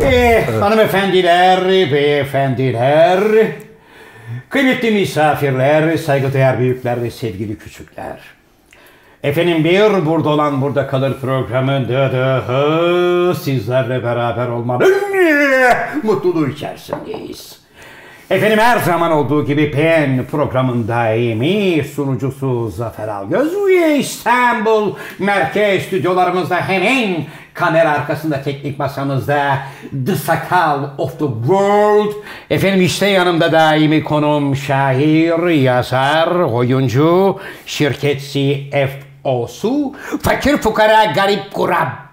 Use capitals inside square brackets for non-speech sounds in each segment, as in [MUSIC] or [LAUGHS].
Ve Eh, hanımefendiler, beyefendiler, kıymetli misafirler, saygıdeğer büyükler ve sevgili küçükler. Efendim bir burada olan burada kalır programı dıdıhı sizlerle beraber olmanın mutluluğu içerisindeyiz. Efendim her zaman olduğu gibi PEN programın daimi sunucusu Zafer Algöz ve İstanbul merkez stüdyolarımızda hemen kamera arkasında teknik masamızda The Sakal of the World. Efendim işte yanımda daimi konum şair, yazar, oyuncu, şirket CFO'su, fakir fukara garip kurabba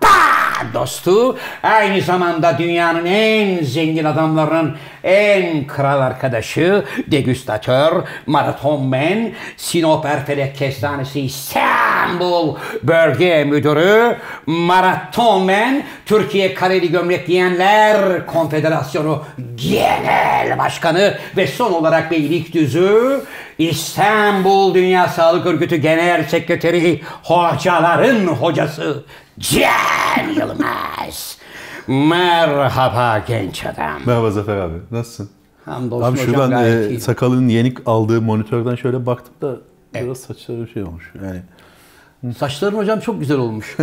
dostu. Aynı zamanda dünyanın en zengin adamlarının en kral arkadaşı, degüstatör, maraton men, Sinop Erfelek Kestanesi İstanbul Bölge Müdürü, maraton men, Türkiye Kareli Gömlek Giyenler Konfederasyonu Genel Başkanı ve son olarak Beylikdüzü İstanbul Dünya Sağlık Örgütü Genel Sekreteri hocaların hocası Can Yılmaz. Merhaba genç adam. Merhaba Zafer abi. Nasılsın? Hamdolsun Abi hocam şuradan gayet e, iyi. sakalın yeni aldığı monitörden şöyle baktım da biraz saçları şey olmuş. Yani [LAUGHS] Saçların hocam çok güzel olmuş.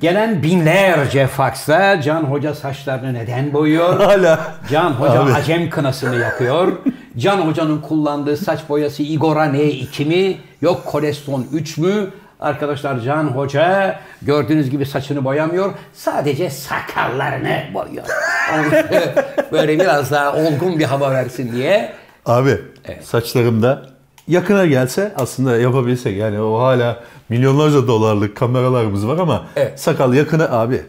Gelen binlerce faksa Can Hoca saçlarını neden boyuyor? hala [LAUGHS] Can Hoca Abi. acem kınasını yakıyor. Can Hoca'nın kullandığı saç boyası Igora N2 E mi? Yok Koleston 3 mü? Arkadaşlar Can Hoca gördüğünüz gibi saçını boyamıyor. Sadece sakallarını boyuyor. Onu Böyle biraz daha olgun bir hava versin diye. abi saçlarımda yakına gelse aslında yapabilsek yani o hala milyonlarca dolarlık kameralarımız var ama Evet. sakal yakına abi.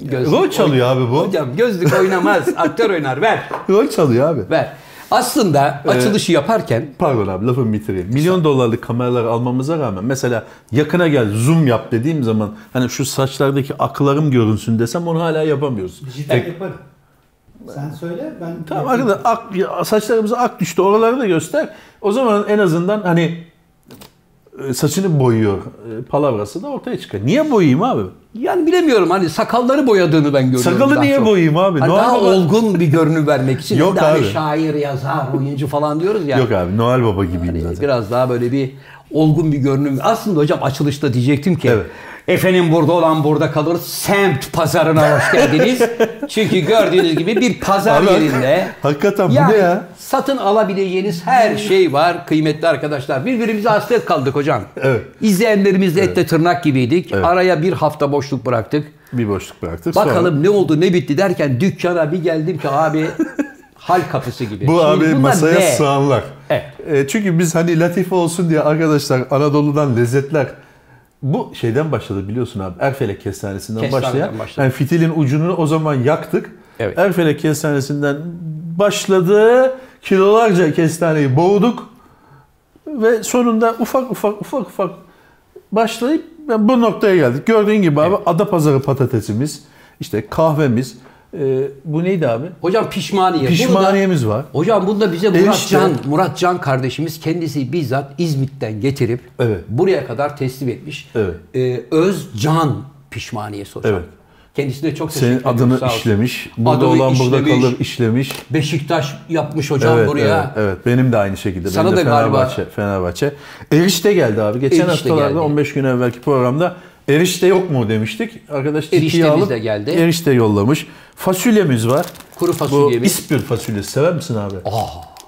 Gözlük Rol çalıyor abi bu. Hocam gözlük oynamaz. Aktör oynar. Ver. Rol çalıyor abi. Ver. Aslında açılışı yaparken Pardon abi lafımı bitireyim. Milyon dolarlık kameralar almamıza rağmen mesela yakına gel zoom yap dediğim zaman hani şu saçlardaki aklarım görünsün desem onu hala yapamıyoruz. Dijital yaparım. Sen söyle ben... Tamam [LAUGHS] arkadaşlar ak, ya, saçlarımıza ak düştü oraları da göster. O zaman en azından hani e, saçını boyuyor e, palavrası da ortaya çıkar. Niye boyayayım abi? Yani bilemiyorum hani sakalları boyadığını ben görüyorum. Sakalı daha niye çok. boyayayım abi? Hani daha Normal olarak- olgun bir görünüm vermek [LAUGHS] için. Yok daha bir abi. şair, yazar, oyuncu falan diyoruz ya. Hani Yok abi Noel Baba gibiyim zaten. Biraz daha böyle bir olgun bir görünüm. Aslında hocam açılışta diyecektim ki. Evet. Efendim burada olan burada kalır. Semt pazarına hoş [LAUGHS] geldiniz. Çünkü gördüğünüz gibi bir pazar Abi hak- yerinde. hakikaten bu yani ne ya? Satın alabileceğiniz her şey var kıymetli arkadaşlar. Birbirimize hasret kaldık hocam. Evet. İzleyenlerimizle ette tırnak gibiydik. Evet. Araya bir hafta boşluk bıraktık. Bir boşluk bıraktık. Sonra- Bakalım ne oldu ne bitti derken dükkana bir geldim ki [LAUGHS] abi hal kapısı gibi. Bu Şimdi abi bunlar masaya ne? sığanlar. Evet. E, çünkü biz hani latife olsun diye arkadaşlar Anadolu'dan lezzetler bu şeyden başladı biliyorsun abi. Erfelek kestanesinden Kestaneden başlayan. başladı. Yani fitilin ucunu o zaman yaktık. Evet. Erfelek kestanesinden başladı. Kilolarca kestaneyi boğduk. Ve sonunda ufak ufak ufak ufak başlayıp yani bu noktaya geldik. Gördüğün gibi abi Adapazarı patatesimiz, işte kahvemiz. e, bu neydi abi? Hocam pişmaniye. Bunu da- Pişmaniyemiz var. hocam bunu da bize Murat Erişte. Can, Murat Can kardeşimiz kendisi bizzat İzmit'ten getirip Evet. buraya kadar teslim etmiş. Evet. Ee, Özcan pişmaniyesi hocam. Evet. Kendisine çok teşekkür Senin ediyorum. adını sağ olsun. işlemiş. Burada Adını olan burada işlemiş. kalır işlemiş. Beşiktaş yapmış hocam evet, buraya. evet, evet. Benim de aynı şekilde. Sana Benim de da galiba- Fenerbahçe, Fenerbahçe. Erişte geldi abi. Geçen Erişte haftalarda geldi. 15 gün evvelki programda erişte yok mu demiştik. Arkadaş ciddiye Eriştemiz alıp de geldi. erişte yollamış. Fasulyemiz var. Kuru Bu fasulyemiz, Ah. ispir fasulyesi sever misin abi?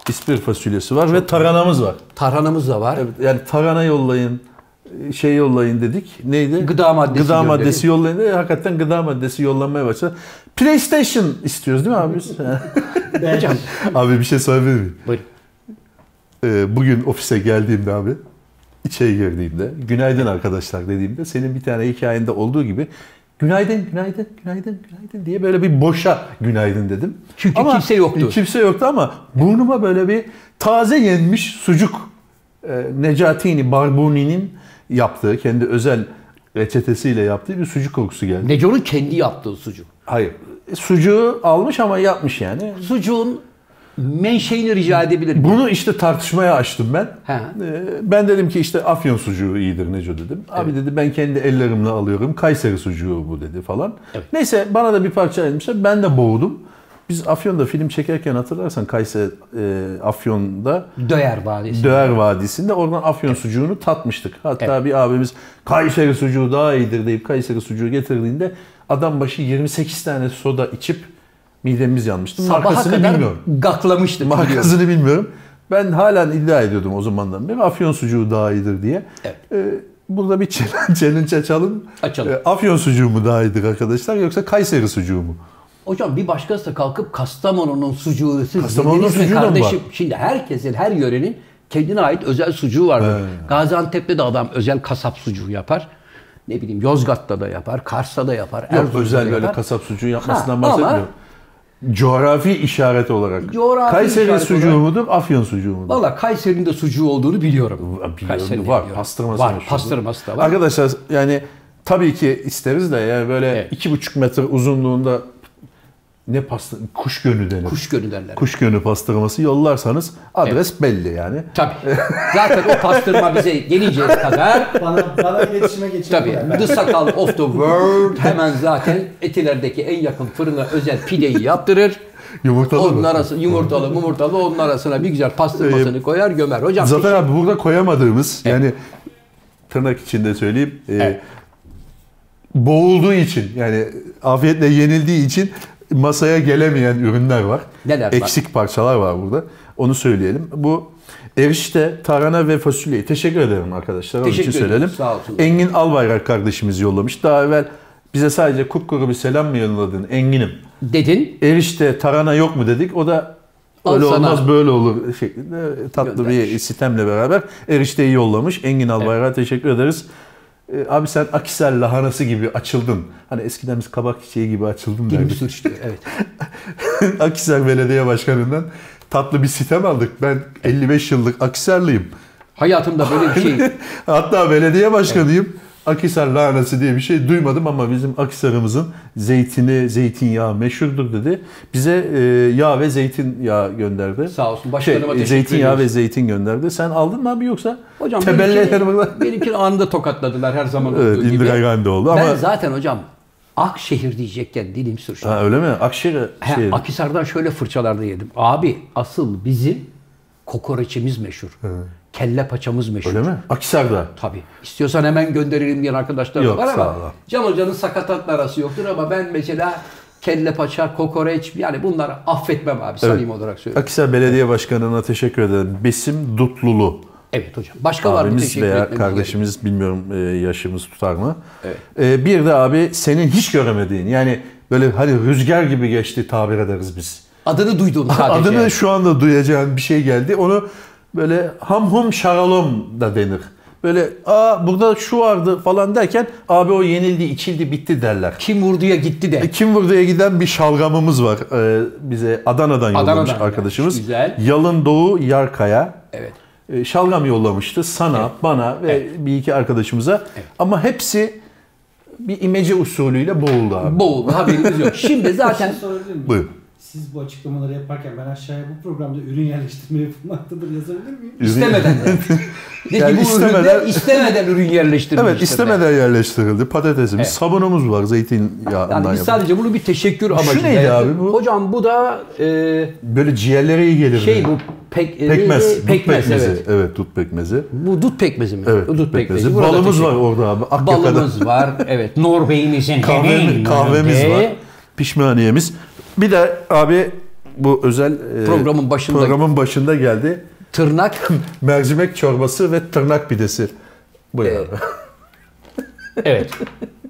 İspir fasulyesi var ve taranamız var. tarhanamız da var. Evet, yani tarhana yollayın, şey yollayın dedik. Neydi? Gıda maddesi Gıda gönderin. maddesi yollayın. dedi. hakikaten gıda maddesi yollanmaya başladı. PlayStation istiyoruz değil mi abi [LAUGHS] biz? Hocam. abi bir şey söyleyebilir miyim? Buyurun. Ee, bugün ofise geldiğimde abi, içeri girdiğimde, günaydın arkadaşlar dediğimde senin bir tane hikayende olduğu gibi günaydın, günaydın, günaydın, günaydın diye böyle bir boşa günaydın dedim. Çünkü kimse yoktu. Kimse yoktu ama burnuma böyle bir taze yenmiş sucuk e, Necatini Barbuni'nin yaptığı, kendi özel reçetesiyle yaptığı bir sucuk kokusu geldi. E, Neco'nun kendi yaptığı sucuk. Hayır. Sucuğu almış ama yapmış yani. Sucuğun menşeini rica edebilir miyim? Bunu işte tartışmaya açtım ben. Ha. Ee, Ben dedim ki işte Afyon sucuğu iyidir Neco dedim. Abi dedi ben kendi ellerimle alıyorum. Kayseri sucuğu bu dedi falan. Evet. Neyse bana da bir parça ayırmışlar. Ben de boğdum. Biz Afyon'da film çekerken hatırlarsan Kayseri e, Afyon'da Döyer Vadisi. Döğer Vadisi'nde oradan Afyon sucuğunu tatmıştık. Hatta bir abimiz Kayseri sucuğu daha iyidir deyip Kayseri sucuğu getirdiğinde adam başı 28 tane soda içip midemiz yanmıştı. Sabaha Markasını kadar bilmiyorum. gaklamıştı. Markasını bilmiyorum. Ben halen iddia ediyordum o zamandan beri. Afyon sucuğu daha iyidir diye. Evet. Ee, burada bir [LAUGHS] challenge- challenge açalım. Açalım. Ee, Afyon sucuğu mu daha iyidir arkadaşlar yoksa Kayseri sucuğu mu? Hocam bir başkası da kalkıp Kastamonu'nun sucuğu siz Kastamonu'nun yediniz mi sucuğu da mı kardeşim? var? Şimdi herkesin, her yörenin kendine ait özel sucuğu vardır. Gaziantep'te de adam özel kasap sucuğu yapar. Ne bileyim Yozgat'ta da yapar, Kars'ta da yapar. Yok Erzurum'da özel da böyle yapar. kasap sucuğu yapmasından Ha, ama- bahsetmiyorum. Coğrafi işaret olarak. Coğrafi Kayseri işaret sucuğu olarak- mudur, Afyon sucuğu mudur? Valla Kayseri'nin de sucuğu olduğunu biliyorum. Biliyorum, Kayseri'de var, biliyorum. pastırması var. meşhurdur. Pastırması da var. Arkadaşlar yani tabii ki isteriz de yani böyle Evet. iki 2,5 metre uzunluğunda ne pasta kuş gönü denir. Kuş gönü derler. Kuş gönü pastırması yollarsanız adres belli yani. Tabii. Zaten o pastırma bize gelinceye kadar Bana, bana iletişime geçin. Tabii. The Sakal of the World hemen zaten Etiler'deki en yakın fırına özel pideyi yaptırır. Yumurtalı onun mı? arası, yumurtalı mumurtalı onun arasına bir güzel pastırmasını koyar gömer. Hocam Ee, Zafer abi burada koyamadığımız yani tırnak içinde söyleyeyim e, Evet. boğulduğu için yani afiyetle yenildiği için masaya gelemeyen ürünler var. Neler var? Eksik parçalar var burada. Onu söyleyelim. Bu erişte, tarhana ve fasulyeyi teşekkür ederim arkadaşlar. Onun Teşekkür için ederim. söyleyelim. Sağ olsun. Engin Albayrak kardeşimiz yollamış. Daha evvel bize sadece kupkuru bir selam mı yolladın Engin'im? dedin erişte tarhana yok mu dedik. O da Al öyle sana. olmaz böyle olur şeklinde tatlı bir Göndermiş. sistemle beraber erişteyi yollamış. Engin Albayrak'a teşekkür ederiz. Ee, abi sen Akisar lahanası gibi açıldın. Hani eskiden biz kabak çiçeği gibi açıldın dilimi derdik. sürçtü. Evet. [LAUGHS] Akisar Belediye Başkanı'ndan tatlı bir sitem aldık. Ben 55 yıllık Akisarlıyım. Hayatımda böyle bir şey Hatta belediye başkanıyım. Akisar lahanası diye bir şey duymadım ama bizim Akisar'ımızın zeytini, zeytinyağı meşhurdur dedi. Bize e, yağ ve zeytinyağı gönderdi. Şey, e, Sağ olsun. Başkanıma teşekkür Zeytinyağı ediyoruz. ve zeytin gönderdi. Sen aldın mı abi yoksa? Hocam Tebelli eder benimkini, burada. benimkini anında tokatladılar her zaman olduğu Evet, gibi. Indira Gandhi oldu Ben ama... zaten hocam Akşehir diyecekken dilim sürçtü. Ha, öyle mi? Akşehir'e He, şey... Akhisar'dan şöyle fırçalarda yedim. Abi asıl bizim kokoreçimiz meşhur. Kelle paçamız meşhur. Öyle mi? Akisar'da. Tabii. İstiyorsan hemen gönderelim diyen arkadaşlar Yok, var ama sağ ol. Can Hoca'nın sakatatla arası yoktur ama ben mesela kelle paça, kokoreç yani bunları affetmem abi samimi olarak söylüyorum. Akisar Belediye Başkanı'na teşekkür ederim. Besim Dutlulu. Evet hocam. Başka var mı abimiz teşekkür veya etmemiz gereken? kardeşimiz bilmiyorum e, yaşımız tutar mı? Evet. E, bir de abi senin hiç göremediğin yani böyle hani rüzgar gibi geçti tabir ederiz biz. Adını duyduğum sadece. [LAUGHS] Adını şu anda duyacağın bir şey geldi. Onu böyle ham hum şaralom da denir. Böyle aa burada şu vardı falan derken abi o yenildi, içildi, bitti derler. Kim vurduya gitti de. E, Kim Vurdu'ya giden bir şalgamımız var. E, bize Adana'dan yollamış Adana'dan arkadaşımız. gelmiş, güzel. Yalın Doğu Yarkaya. Evet. E, şalgam yollamıştı sana, bana ve bir iki arkadaşımıza. Ama hepsi bir imece usulüyle boğuldu abi. Boğuldu haberimiz yok. Şimdi zaten [LAUGHS] Zaten sorabilir miyim? Buyurun. Siz bu açıklamaları yaparken ben aşağıya bu programda ürün yerleştirme yapılmaktadır yazabilir miyim? [LAUGHS] istemeden. de. Dedi Yani bu istemeden, istemeden- istemeden ürün yerleştirmiştir. Evet de. istemeden yerleştirildi. Patatesimiz, Evet. sabunumuz var Yani zeytinyağından biz yapılmış. sadece bunu bir teşekkür amacıyla neydi yaptık. abi bu? Hocam bu da e, Böyle ciğerlere iyi gelir. şey dedi. bu pek, pekmez, e, dut pekmez, pekmezi. evet. dut pekmezi. Bu dut pekmezi mi? Evet, Bu dut pekmezi. Burada Balımız var teşekkür- orada abi. Akyaka'da. Balımız var. Evet. Norveç'imizin Kahve, hemen kahvemiz önünde. var. Pişmaniyemiz. Bir de abi bu özel e, Programın başında- programın başında geldi. [LAUGHS] Tırnak. Mercimek çorbası ve tırnak pidesi. Buyur abi. [LAUGHS] Evet.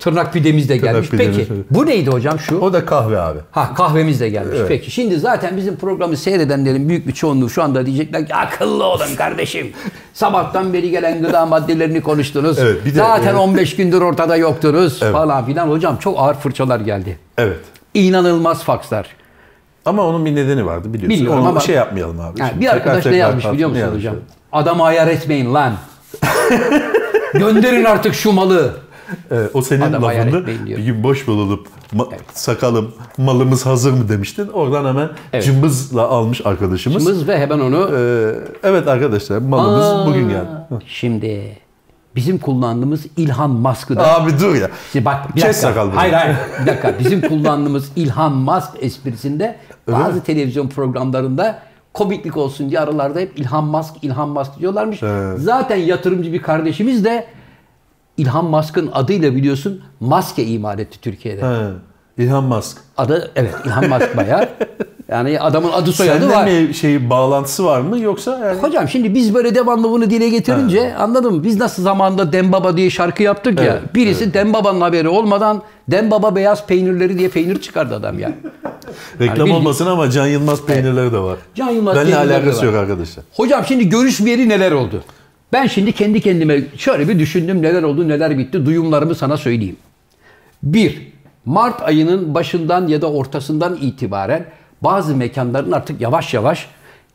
Tırnak pidemiz de gelmiş. pidemiz, Peki. evet. Bu neydi hocam şu? O da kahve abi. Ha kahvemiz de gelmiş. Evet. Peki. Şimdi zaten bizim programı seyredenlerin büyük bir çoğunluğu şu anda diyecekler ki akıllı olun kardeşim. Sabahtan beri gelen [LAUGHS] gıda maddelerini konuştunuz. Evet, bir de- zaten evet. 15 gündür ortada yoktunuz Evet. falan filan. Hocam çok ağır fırçalar geldi. Evet. İnanılmaz fakslar. Ama onun bir nedeni vardı biliyorsun. Biliyorum Onu ama- şey yapmayalım abi. Yani Şimdi bir tekrar arkadaş ne tekrar yazmış biliyor musun tartışmayalım [LAUGHS] hocam? Adamı ayar etmeyin lan. Gönderin artık şu malı. Evet, o senin Adam hayal lafındı. etmeyin diyor. Bir gün boş bulalım, ma- Evet. sakalım, malımız hazır mı demiştin. Oradan hemen Evet. cımbızla almış arkadaşımız. Mız ve hemen onu Ee, evet arkadaşlar malımız Aa, bugün geldi. Şimdi bizim kullandığımız İlhan Musk'ı da Abi dur ya. Şimdi bak bir Kes dakika. sakal bunu. Hayır hayır. Bir dakika. Bizim kullandığımız Ilhan Musk esprisinde bazı televizyon programlarında komiklik olsun diye aralarda hep İlhan Musk, İlhan Musk diyorlarmış. Evet. Zaten yatırımcı bir kardeşimiz de İlhan Musk'ın adıyla biliyorsun maske imal etti Türkiye'de. He, Elon Musk. Adı evet İlhan Musk [LAUGHS] bayağı. Yani adamın adı soyadı Sende var. mi şey bağlantısı var mı yoksa yani Hocam şimdi biz böyle devamlı bunu dile getirince anladın mı? Biz nasıl zamanında Dembaba diye şarkı yaptık ya. Evet, Birisi Dembaba'nın haberi olmadan Dembaba beyaz peynirleri diye peynir çıkardı adam [LAUGHS] ya. reklam Yani bil- olmasın ama Can Yılmaz peynirleri de var. Can Yılmaz Benle peynirleri de alakası var. yok arkadaşlar. Hocam şimdi görüş veri neler oldu? Ben şimdi kendi kendime şöyle bir düşündüm neler oldu neler bitti duyumlarımı sana söyleyeyim. Bir, Mart ayının başından ya da ortasından itibaren bazı mekanların artık yavaş yavaş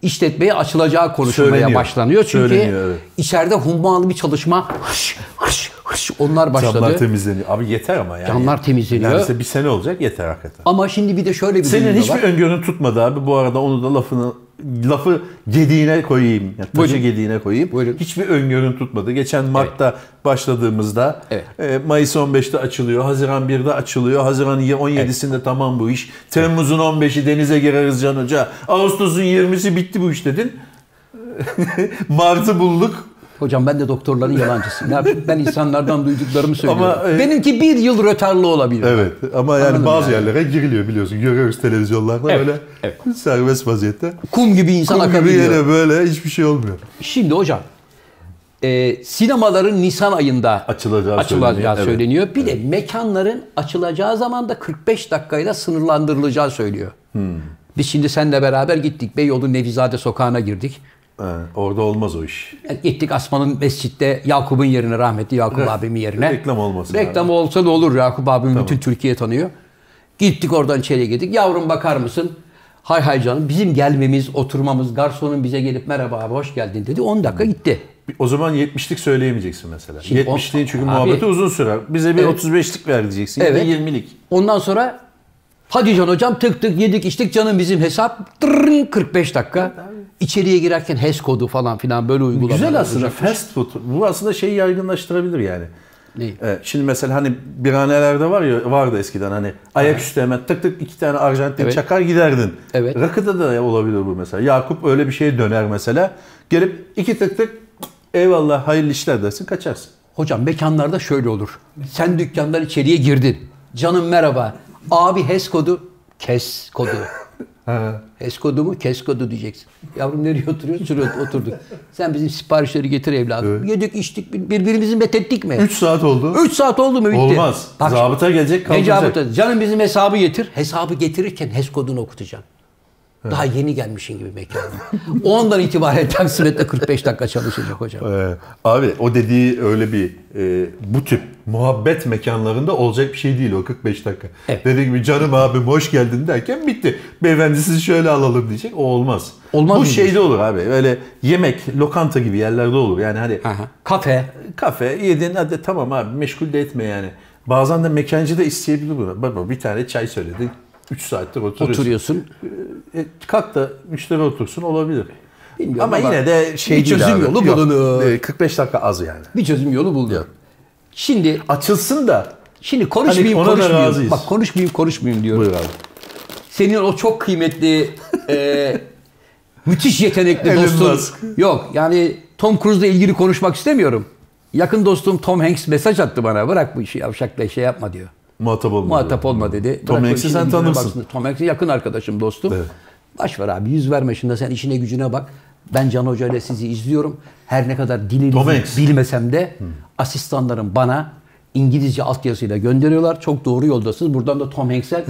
işletmeye açılacağı konuşulmaya Söyleniyor. başlanıyor. Çünkü Söyleniyor, evet. içeride hummalı bir çalışma hış, hış, hış, onlar başladı. Camlar temizleniyor. Abi yeter ama yani. Camlar temizleniyor. Neredeyse bir sene olacak yeter hakikaten. Ama şimdi bir de şöyle bir Senin duyum da hiçbir var. öngörün tutmadı abi. Bu arada onu da lafını lafı gediğine koyayım. Yani taşı Buyurun. gediğine koyayım. Buyurun. Hiçbir öngörün tutmadı. Geçen Mart'ta başladığımızda Evet. e, Mayıs 15'te açılıyor. Haziran 1'de açılıyor. Haziran 17'sinde tamam bu iş. Temmuz'un 15'i denize gireriz Can Hoca. Ağustos'un 20'si bitti bu iş dedin. [LAUGHS] Mart'ı bulduk. Hocam ben de doktorların yalancısıyım. Ne yapayım? ben insanlardan duyduklarımı söylüyorum. e- Benimki bir yıl rötarlı olabilir. Evet ama yani Anladım bazı yani. yerlere giriliyor biliyorsun. Görüyoruz televizyonlarda Evet, böyle evet. serbest vaziyette. Kum gibi insan Kum gibi akabiliyor. yere böyle hiçbir şey olmuyor. Şimdi hocam e, sinemaların Nisan ayında Açılacağı açılacağı söyleniyor, söyleniyor. Bir de mekanların açılacağı zaman da 45 dakikayla sınırlandırılacağı söylüyor. Hmm. Biz şimdi seninle beraber gittik. Beyoğlu Nevizade Sokağı'na girdik. Ha, orada olmaz o iş. Yani Gittik Asman'ın mescitte Yakup'un yerine rahmetli Yakup abimin yerine. reklam olmasın Reklam abi. olsa da olur Yakup abim bütün Türkiye tanıyor. Gittik oradan içeriye girdik. Yavrum bakar mısın? Hay hay canım bizim gelmemiz, oturmamız, garsonun bize gelip merhaba abi hoş geldin dedi. 10 dakika gitti. O zaman 70'lik söyleyemeyeceksin mesela. Şimdi 70'liğin çünkü abi- muhabbeti uzun sürer. Bize bir Evet. 35'lik ver diyeceksin ya da Evet. 20'lik. Ondan sonra hadi can hocam tık tık yedik içtik canım bizim hesap Tırrın, 45 dakika. İçeriye girerken HES kodu falan filan böyle uygulamalar. Güzel aslında olacak. fast food. Bu aslında şeyi yaygınlaştırabilir yani. Ne? Ee, Şimdi mesela hani biranelerde var ya vardı eskiden hani ayaküstü hemen tık tık iki tane Arjantin Evet. çakar giderdin. Evet. Rakıda da olabilir bu mesela. Yakup öyle bir şeye döner mesela. Gelip iki tık tık eyvallah hayırlı işler dersin kaçarsın. Hocam mekanlarda şöyle olur. Sen dükkandan içeriye girdin. Canım merhaba. Abi HES kodu. Kes kodu. HES kodu mu? Kes kodu diyeceksin. Yavrum nereye oturuyorsun? Şuraya oturduk. Sen bizim siparişleri getir evladım. Yedik içtik bir- birbirimizi methettik mi? 3 saat oldu. 3 saat oldu mu bitti. Olmaz. Bak, Zabıta gelecek ne kaldıracak. zabıta? Canım bizim hesabı getir. Hesabı getirirken HES kodunu okutacaksın. Daha yeni gelmişin gibi mekan. Ondan itibaren taksimetle 45 dakika çalışacak hocam. Ee, abi o dediği öyle bir e, bu tip muhabbet mekanlarında olacak bir şey değil o 45 dakika. Evet. Dediğim gibi canım abi hoş geldin derken bitti. Beyefendi sizi şöyle alalım diyecek o olmaz. Olmaz Bu mı şeyde olur abi öyle yemek lokanta gibi yerlerde olur yani hani Aha. Kafe. kafe yedin hadi tamam abi meşgul de etme yani. Bazen de mekancı da isteyebilir bunu. Baba bir tane çay söyledin 3 saattir oturuyorsun. Oturuyorsun. E, kalk da müşteri otursun olabilir. Bilmiyorum ama, ama yine de şey bir değil çözüm abi. yolu Yok, bulunur. e, 45 dakika az yani. Bir çözüm yolu buldu. Şimdi Açılsın da. şimdi konuşmayayım Hani ona da konuşmayayım. razıyız. Bak konuşmayayım konuşmayayım diyorum. Buyur abi. Senin o çok kıymetli [LAUGHS] e, müthiş yetenekli Elon dostun. Musk. Yok yani Tom Cruise'la ilgili konuşmak istemiyorum. Yakın dostum Tom Hanks mesaj attı bana. Bırak bu işi yavşakla şey yapma diyor. Muhatap olma. Muhatap olma dedi. Tom Bırak bu Hanks'i işin sen gücüne tanırsın. baksın. Tom Hanks'i yakın arkadaşım, dostum. Evet. Baş ver abi yüz verme şimdi sen işine gücüne bak. Ben Can Hoca ile sizi izliyorum. Her ne kadar Tom dilinizi Hanks. bilmesem de asistanlarım bana İngilizce altyazıyla gönderiyorlar. Çok doğru yoldasınız. Buradan da Tom [LAUGHS] Hanks'e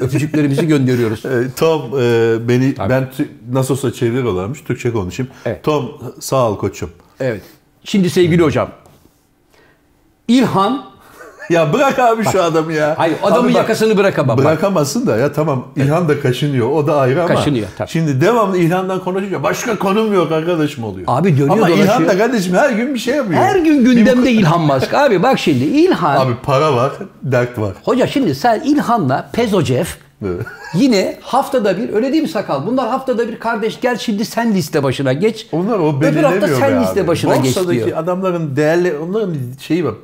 öpücüklerimizi gönderiyoruz. E, Tom e, beni ben tü, nasıl olsa çeviriyorlarmış. Türkçe konuşayım. Evet. Tom sağ ol koçum. [LAUGHS] Evet. Şimdi sevgili hocam. İlhan ya bırak abi şu adamı ya. Hayır adamın Abi bak, yakasını bırak ama. bak. Bırakamasın da ya tamam İlhan da kaşınıyor o da ayrı ama. Kaşınıyor, tabii. Şimdi devamlı İlhan'dan konuşunca başka konum yok arkadaşım oluyor. Abi dönüyor Ama İlhan dolaşıyor. da kardeşim her gün bir şey yapıyor. Her gün gündemde İlhan Musk. Abi bak şimdi İlhan. Abi para var, dert var. Hoca şimdi sen İlhan'la Pezocev Evet. yine haftada bir öyle değil mi sakal? Bunlar haftada bir kardeş gel şimdi sen liste başına geç. Onlar o Öbür belirlemiyor hafta be sen abi. liste başına geç Borsadaki diyor. adamların değerleri, onların bir şeyi var.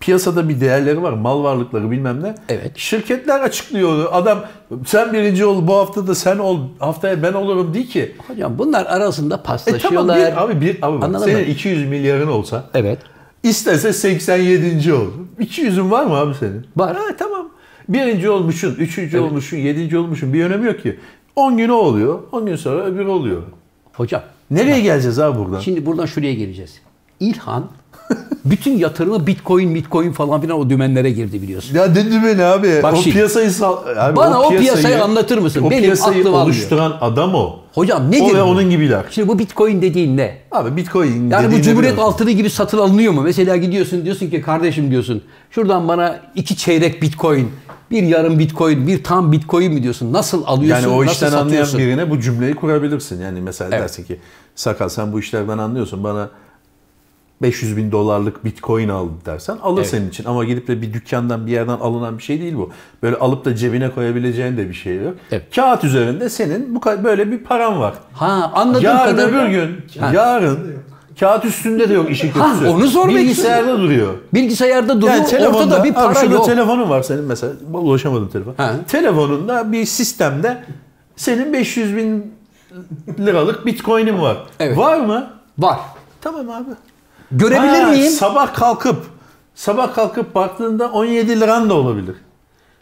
Piyasada bir değerleri var, mal varlıkları bilmem ne. Evet. Şirketler açıklıyor. Adam sen birinci ol, bu hafta da sen ol, haftaya ben olurum değil ki. Hocam bunlar arasında E tamam paslaşıyorlar. bir, abi bir abi bak, Anladın senin mı? 200 milyarın olsa Evet. istese 87. ol. 200'ün var mı abi senin? Var. Ha, tamam. Birinci olmuşsun, üçüncü olmuşsun, yedinci olmuşsun bir önemi yok ki. 10 gün o oluyor, 10 gün sonra öbürü oluyor. Hocam Nereye geleceğiz abi buradan? şimdi buradan şuraya geleceğiz. İlhan [LAUGHS] bütün yatırımı bitcoin bitcoin falan filan o dümenlere girdi biliyorsun. Ya dedi beni abi. Bak o şimdi, piyasayı sal- abi, bana o piyasayı anlatır mısın? O Benim piyasayı aklım almıyor. oluşturan adam o. Hocam nedir? O ve bu? onun gibiler. Şimdi bu bitcoin dediğin ne? Abi Yani bu Bitcoin dediğini cumhuriyet biliyorsun. altını gibi satın alınıyor mu? Mesela gidiyorsun diyorsun ki kardeşim diyorsun şuradan bana iki çeyrek bitcoin, bir yarım bitcoin, bir tam bitcoin mi diyorsun? Nasıl alıyorsun? Yani o nasıl işten anlayan satıyorsun? birine bu cümleyi kurabilirsin. Yani mesela Evet. dersin ki sakal sen bu işlerden anlıyorsun bana 500 bin dolarlık bitcoin al dersen alır Evet. senin için. Ama gidip de bir dükkandan bir yerden alınan bir şey değil bu. Böyle alıp da cebine koyabileceğin de bir şey yok. Evet. Kağıt üzerinde senin bu ka- böyle bir paran var. Ha anladığım Yarın kadarıyla öbür gün, Ha. yarın kağıt üstünde de yok işin Ha, kötüsü. onu sormak Bilgisayarda duruyor. bilgisayarda duruyor Yani telefonda, ortada bir abi para şurada yok. telefonun var senin mesela. Ulaşamadım telefon. Ha. Telefonunda bir sistemde senin 500 bin liralık bitcoin'in var. Evet. Var mı? Var. Tamam abi. Görebilir Ha, miyim? Sabah kalkıp sabah kalkıp baktığında 17 liran da olabilir.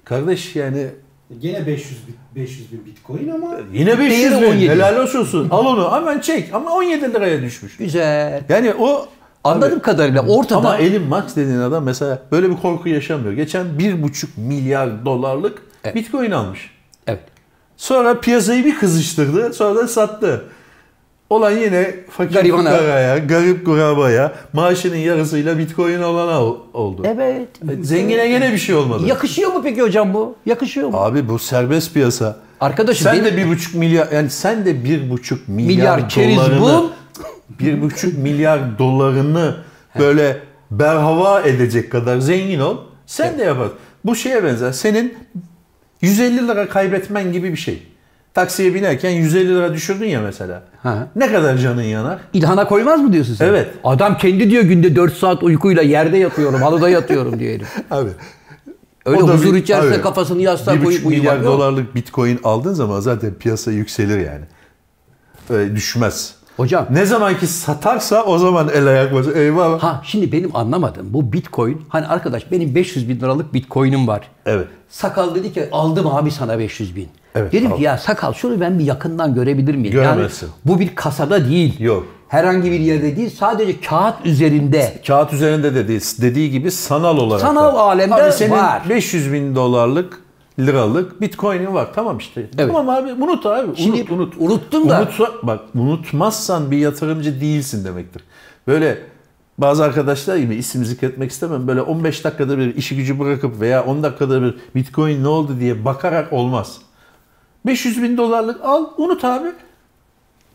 Kardeş yani E, Gene 500 bin, 500 bin bitcoin ama yine 500 Değeri bin 17. helal olsun. Al onu hemen çek ama 17 liraya düşmüş. Güzel. Yani o Anladığım Abi, kadarıyla ortada Ama Elon Musk dediğin adam mesela böyle bir korku yaşamıyor. Geçen 1,5 milyar dolarlık Evet. bitcoin almış. evet. Sonra piyasayı bir kızıştırdı. Sonra da sattı. Olan yine fakir Garibana. fukaraya, garip kurabaya, maaşının yarısıyla bitcoin olana ol- oldu. Evet. E, Zengine gene bir şey olmadı. Yakışıyor mu peki hocam bu? Yakışıyor mu? Abi bu serbest piyasa. Arkadaşım sen benim- de bir buçuk milyar yani sen de bir buçuk milyar, Milyar keriz dolarını bul. [LAUGHS] bir buçuk milyar dolarını böyle berhava edecek kadar zengin ol. Sen de yapar. Bu şeye benzer. Senin 150 lira kaybetmen gibi bir şey. Taksiye binerken 150 lira düşürdün ya mesela. Ha. Ne kadar canın yanar? İlhana koymaz mı diyorsun sen? Evet. Adam kendi diyor günde 4 saat uykuyla yerde yatıyorum, halıda yatıyorum diyor herif. Abi Öyle O da huzur bir- içerisinde abi, kafasını yastığa bir koyup buçuk milyar uyumak yok. dolarlık bitcoin aldığın zaman zaten piyasa yükselir yani. Öyle düşmez. Hocam Ne zaman ki satarsa o zaman el ayak basar. Eyvallah. ha şimdi benim anlamadığım bu bitcoin hani arkadaş benim 500 bin liralık bitcoinim var. Evet. Sakal dedi ki aldım abi sana 500 bin. Evet, Dedim aldım. ki ya sakal şunu ben bir yakından görebilir miyim? Göremezsin. Yani bu bir kasada değil. Yok. Herhangi bir yerde değil sadece kağıt üzerinde. Kağıt üzerinde de değil. Dediği gibi sanal olarak. Sanal var. alemde Abi senin var. 500 bin dolarlık liralık bitcoin'in var. Tamam işte. Evet. Tamam abi unut abi. Şimdi unut unut. unuttum da. Unutsa, bak unutmazsan bir yatırımcı değilsin demektir. Böyle bazı arkadaşlar gibi isim zikretmek istemem. Böyle 15 dakikada bir işi gücü bırakıp veya 10 dakikada bir bitcoin ne oldu diye bakarak olmaz. 500 bin dolarlık al unut abi.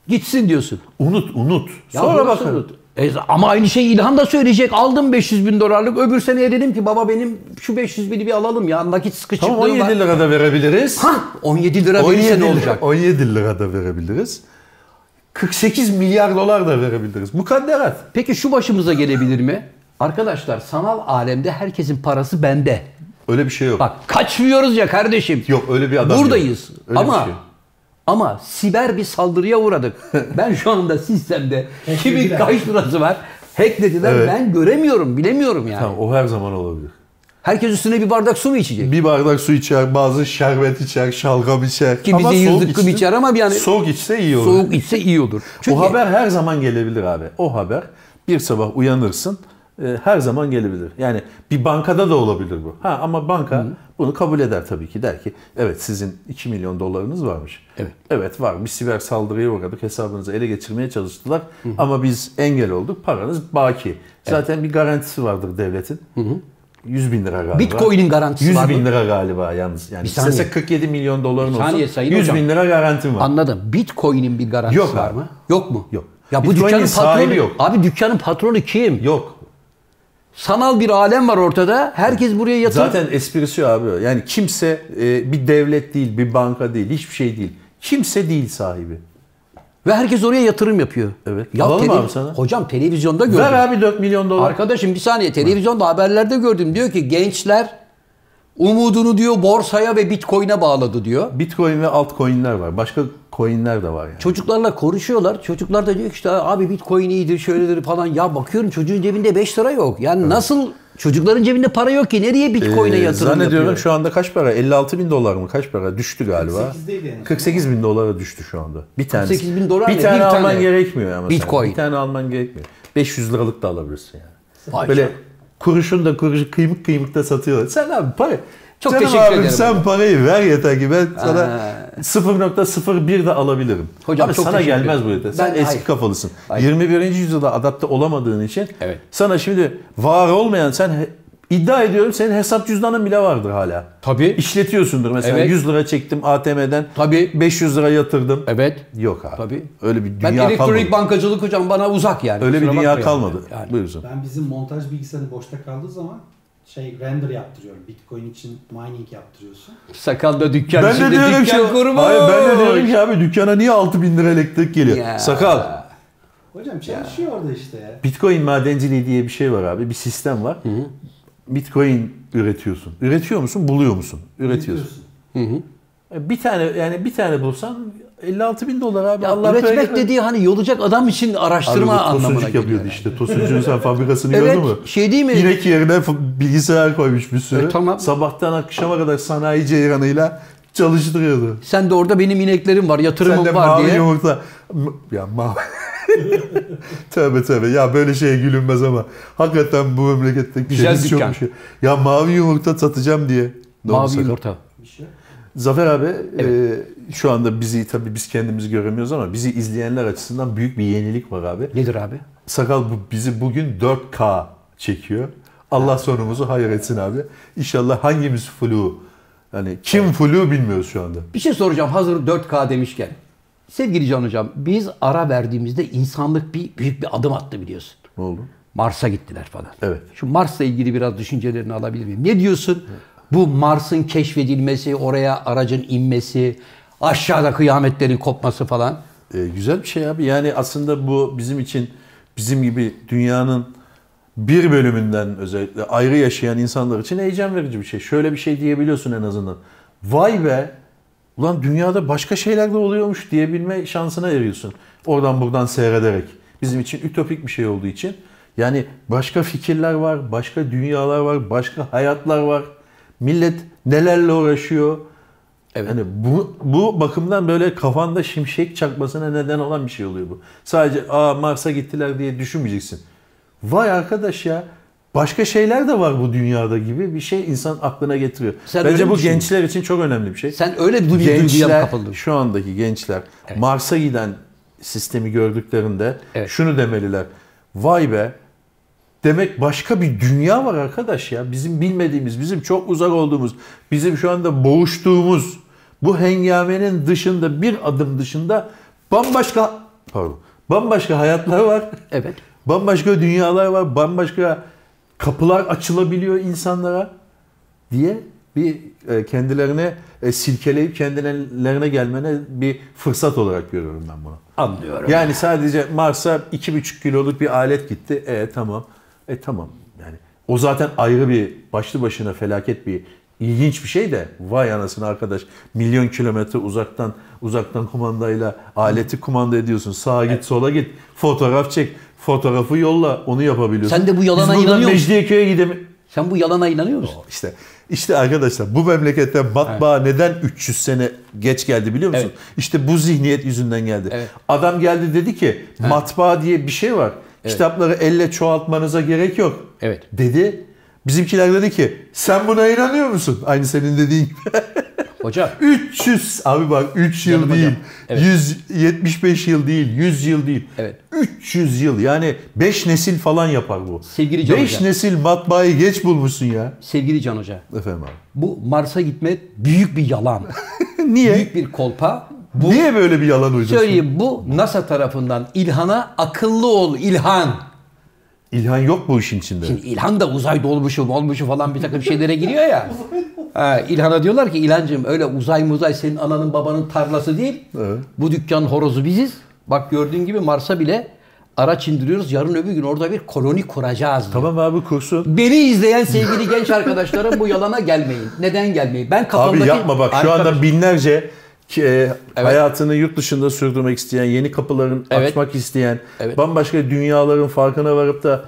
Gitsin diyorsun. Unut unut. Ya Sonra burası- bakın. E, ama aynı şey İlhan da söyleyecek. Aldım 500 bin dolarlık. Öbür seneye dedim ki baba benim şu 500 bini bir alalım ya. Nakit sıkışıklığı Tamam 17 var. lira da verebiliriz. Hah 17 lira verirse ne olacak? 17 lira da verebiliriz. 48 milyar dolar da verebiliriz. Mukadderat. Peki şu başımıza gelebilir mi? Arkadaşlar sanal alemde herkesin parası bende. Öyle bir şey yok. Bak kaçmıyoruz ya kardeşim. Yok, öyle bir adam yok. Buradayız. Öyle bir ama şey. ama siber bir saldırıya uğradık. [LAUGHS] ben şu anda sistemde kimin Hacklediler. kaç lirası var? Hacklediler. Evet. Ben göremiyorum, bilemiyorum yani. Tamam, o her zaman olabilir. Herkes üstüne bir bardak su mu içecek? Bir bardak su içer, bazı şerbet içer, şalgam içer. Ki bize soğuk yüzlük kım içse- içer ama yani- Soğuk içse iyi olur. Soğuk içse iyi olur. Çünkü O haber her zaman gelebilir abi. O haber bir sabah uyanırsın e, her zaman gelebilir. Yani bir bankada da olabilir bu. Ha ama banka bunu kabul eder tabii ki. Der ki evet sizin 2 milyon dolarınız varmış. Evet. Evet var. Bir siber saldırıya uğradık. Hesabınızı ele geçirmeye çalıştılar. Ama biz engel olduk. Paranız baki. Zaten bir garantisi vardır devletin. 100 bin lira galiba. Bitcoin'in garantisi 100 var mı? bin lira galiba yalnız. Yani Bir saniye. istese 47 milyon doların Bir saniye olsun. sayın 100 hocam. bin lira garantim var. Anladım. Bitcoin'in bir garantisi Yok var abi. mı? Yok mu? Yok. Ya bu Bitcoin'in dükkanın sahibi patronu yok. Abi dükkanın patronu kim? Yok. Sanal bir alem var ortada. Herkes buraya yatırım. Zaten esprisi o abi. Yani kimse e, bir devlet değil, bir banka değil, hiçbir şey değil. Kimse değil sahibi. Ve herkes oraya yatırım yapıyor. Evet. Alalım abi sana. Hocam televizyonda gördüm. Ver abi 4 milyon dolar. Arkadaşım bir saniye televizyonda haberlerde gördüm. Diyor ki gençler umudunu diyor borsaya ve bitcoin'e bağladı diyor. Bitcoin ve altcoin'ler var. Başka coin'ler de var yani. Çocuklarla konuşuyorlar. Çocuklar da diyor ki işte abi bitcoin iyidir şöyledir falan. Ya bakıyorum çocuğun cebinde 5 lira yok. Yani nasıl çocukların cebinde para yok ki nereye bitcoin'e Ee, yatırım Zannediyorum yapıyor? şu anda kaç para? 56 bin dolar mı? Kaç para? Düştü galiba. 48'deydi en son. 48 bin dolara düştü şu anda. Bir tane. 48 bin dolar Bir ne? tane Bir alman tane. gerekmiyor ama. sen. Bitcoin. Bir tane alman gerekmiyor. 500 liralık da alabilirsin yani. Vay Böyle canına. kuruşun da kuruşu kıymık kıymık da satıyorlar. Sen abi para... Çok Canım teşekkür abim, ederim sen hocam. parayı ver yeter ki ben sana Ha. 0.01 de alabilirim. Hocam Abi çok sana teşekkür gelmez bu ederim. yeter. Sen Ben- eski hayır. kafalısın. Hayır. 21. yüzyılda adapte olamadığın için Evet. sana şimdi var olmayan sen he- iddia ediyorum senin hesap cüzdanın bile vardır hala. Tabii. İşletiyorsundur mesela Evet. 100 lira çektim ATM'den. Tabii. 500 lira yatırdım. Evet. Yok abi. Tabii. Öyle bir Ben dünya elektronik kalmadı. bankacılık hocam bana uzak yani. Öyle bir Kusura dünya bakmayın. kalmadı. Yani. Buyursun. Ben bizim montaj bilgisayarı boşta kaldığı zaman şey render yaptırıyorum. Bitcoin için mining yaptırıyorsun. Sakalda dükkan Ben de içinde diyorum ki, dükkan kurmuş. hayır, ben de diyorum ki abi dükkana niye 6000 lira elektrik geliyor? Ya. Sakal. Hocam çalışıyor orada işte ya. Bitcoin madenciliği diye bir şey var abi. Bir sistem var. Bitcoin üretiyorsun. Üretiyor musun? Buluyor musun? Üretiyorsun. E, Yapıyorsun. Bir tane yani bir tane bulsan 56 bin dolar abi. Ya Allah üretmek böyle- dediği hani yolacak adam için Abi bu araştırma anlamına tosuncuk geliyor. yapıyordu yani. işte. [LAUGHS] Tosuncuğun sen fabrikasını Evet, gördün mü? şey değil mi? İnek yerine f- bilgisayar koymuş bir sürü. E, tamam. Sabahtan akşama kadar sanayi ceyranıyla çalıştırıyordu. Sen de orada benim ineklerim var, Sen yatırımım de var mavi diye. yumurta. M- Ya [LAUGHS] mavi. tövbe tövbe. Ya böyle şeye gülünmez ama. Hakikaten bu memlekette Güzel şeyimiz dükkan. yokmuş ya. Ya mavi yumurta satacağım diye. Ne Mavi olmuş sakal? yumurta. Bir şey yok. Zafer abi e, şu anda bizi tabii biz kendimizi göremiyoruz ama bizi izleyenler açısından büyük bir yenilik var abi. Nedir abi? Sakal bu, bizi bugün 4K çekiyor. Allah sonumuzu hayır etsin abi. İnşallah hangimiz flu yani kim flu bilmiyoruz şu anda. Bir şey soracağım hazır 4K demişken. Sevgili Can Hocam biz ara verdiğimizde insanlık bir büyük bir adım attı biliyorsun. Ne oldu? Mars'a gittiler falan. Evet. Şu Mars'la ilgili biraz düşüncelerini alabilir miyim? Ne diyorsun? Bu Mars'ın keşfedilmesi, oraya aracın inmesi, aşağıda kıyametlerin kopması falan. E, güzel bir şey abi. Yani aslında bu bizim için bizim gibi dünyanın bir bölümünden özellikle ayrı yaşayan insanlar için heyecan verici bir şey. Şöyle bir şey diyebiliyorsun en azından. Vay be! Ulan dünyada başka şeyler de oluyormuş diyebilme şansına eriyorsun. Oradan buradan seyrederek. Bizim için ütopik bir şey olduğu için. Yani başka fikirler var, başka dünyalar var, başka hayatlar var. Millet nelerle uğraşıyor. Evet. Yani bu, bu bakımdan böyle kafanda şimşek çakmasına neden olan bir şey oluyor bu. Sadece aa Mars'a gittiler diye düşünmeyeceksin. Vay arkadaş ya başka şeyler de var bu dünyada gibi bir şey insan aklına getiriyor. Sen öyle Bence mi bu düşünüyorsun? gençler için çok önemli bir şey. Sen öyle bir duyguya mı gençler kapıldın? şu andaki gençler Mars'a giden sistemi gördüklerinde Evet. şunu demeliler. Vay be Demek başka bir dünya var arkadaş ya. Bizim bilmediğimiz, bizim çok uzak olduğumuz, bizim şu anda boğuştuğumuz bu hengamenin dışında bir adım dışında bambaşka pardon, bambaşka hayatlar var. Evet. Bambaşka dünyalar var. Bambaşka kapılar açılabiliyor insanlara diye bir e, kendilerine e, silkeleyip kendilerine gelmene bir fırsat olarak görüyorum ben bunu. Anlıyorum. Yani sadece Mars'a 2,5 kiloluk bir alet gitti. E tamam. E tamam. Yani o zaten ayrı bir başlı başına felaket bir ilginç bir şey de vay anasını arkadaş milyon kilometre uzaktan uzaktan kumandayla aleti kumanda ediyorsun. Sağa git, sola git. Fotoğraf çek. Fotoğrafı yolla. Onu yapabiliyorsun. Sen de bu yalana Biz buradan inanıyor musun? Mecidiyeköy'e gidemi- Sen bu yalana inanıyor musun? işte işte arkadaşlar bu memlekette matbaa neden 300 sene geç geldi biliyor musun? İşte bu zihniyet yüzünden geldi. Evet. Adam geldi dedi ki matbaa diye bir şey var. Kitapları elle çoğaltmanıza gerek yok. Evet. Dedi. Bizimkiler dedi ki sen buna inanıyor musun? Aynı senin dediğin gibi. [LAUGHS] Hocam 300 abi bak 3 yıl Canım hocam. değil. Evet. 175 yıl değil, 100 yıl değil. Evet. 300 yıl yani 5 nesil falan yapar bu. Sevgili Can 5 Hocam. nesil matbaayı geç bulmuşsun ya. sevgili Can Hoca Efendim abi. bu Mars'a gitme büyük bir yalan. Niye? büyük bir kolpa. Niye böyle bir yalan uyduruyorsun? Söyleyeyim bu NASA tarafından İlhan'a akıllı ol İlhan. İlhan yok bu işin içinde. Şimdi İlhan da uzay dolmuşu olmuşu falan bir takım şeylere giriyor ya. Ha, İlhan'a diyorlar ki İlhancığım öyle uzay muzay senin ananın babanın tarlası değil. Evet. Bu dükkan horozu biziz. Bak gördüğün gibi Mars'a bile araç indiriyoruz. Yarın öbür gün orada bir koloni kuracağız. diyor. Tamam abi kursun. Beni izleyen sevgili genç arkadaşlarım bu yalana gelmeyin. Neden gelmeyin? Ben kafamdaki... Abi yapma bak şu Arkadaş- anda binlerce ki, e, hayatını yurt dışında sürdürmek isteyen, yeni kapıların Evet. açmak isteyen, Evet. bambaşka dünyaların farkına varıp da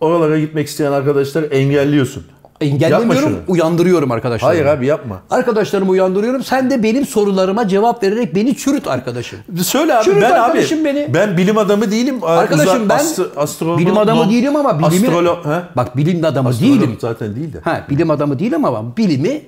oralara gitmek isteyen arkadaşlar engelliyorsun. Yapma Engellemiyorum, şunu. uyandırıyorum arkadaşlarımı. Hayır abi yapma. Arkadaşlarımı uyandırıyorum. Sen de benim sorularıma cevap vererek beni çürüt arkadaşım. Söyle abi Çürüt ben abi arkadaşım beni. ben bilim adamı değilim. Aa, Arkadaşım uzak- ben astro- astronom- bilim adamı değilim ama bilimi... astrolog he? Bak bilim adamı Astronom değilim. zaten değil de. Ha, bilim adamı değilim ama bilimi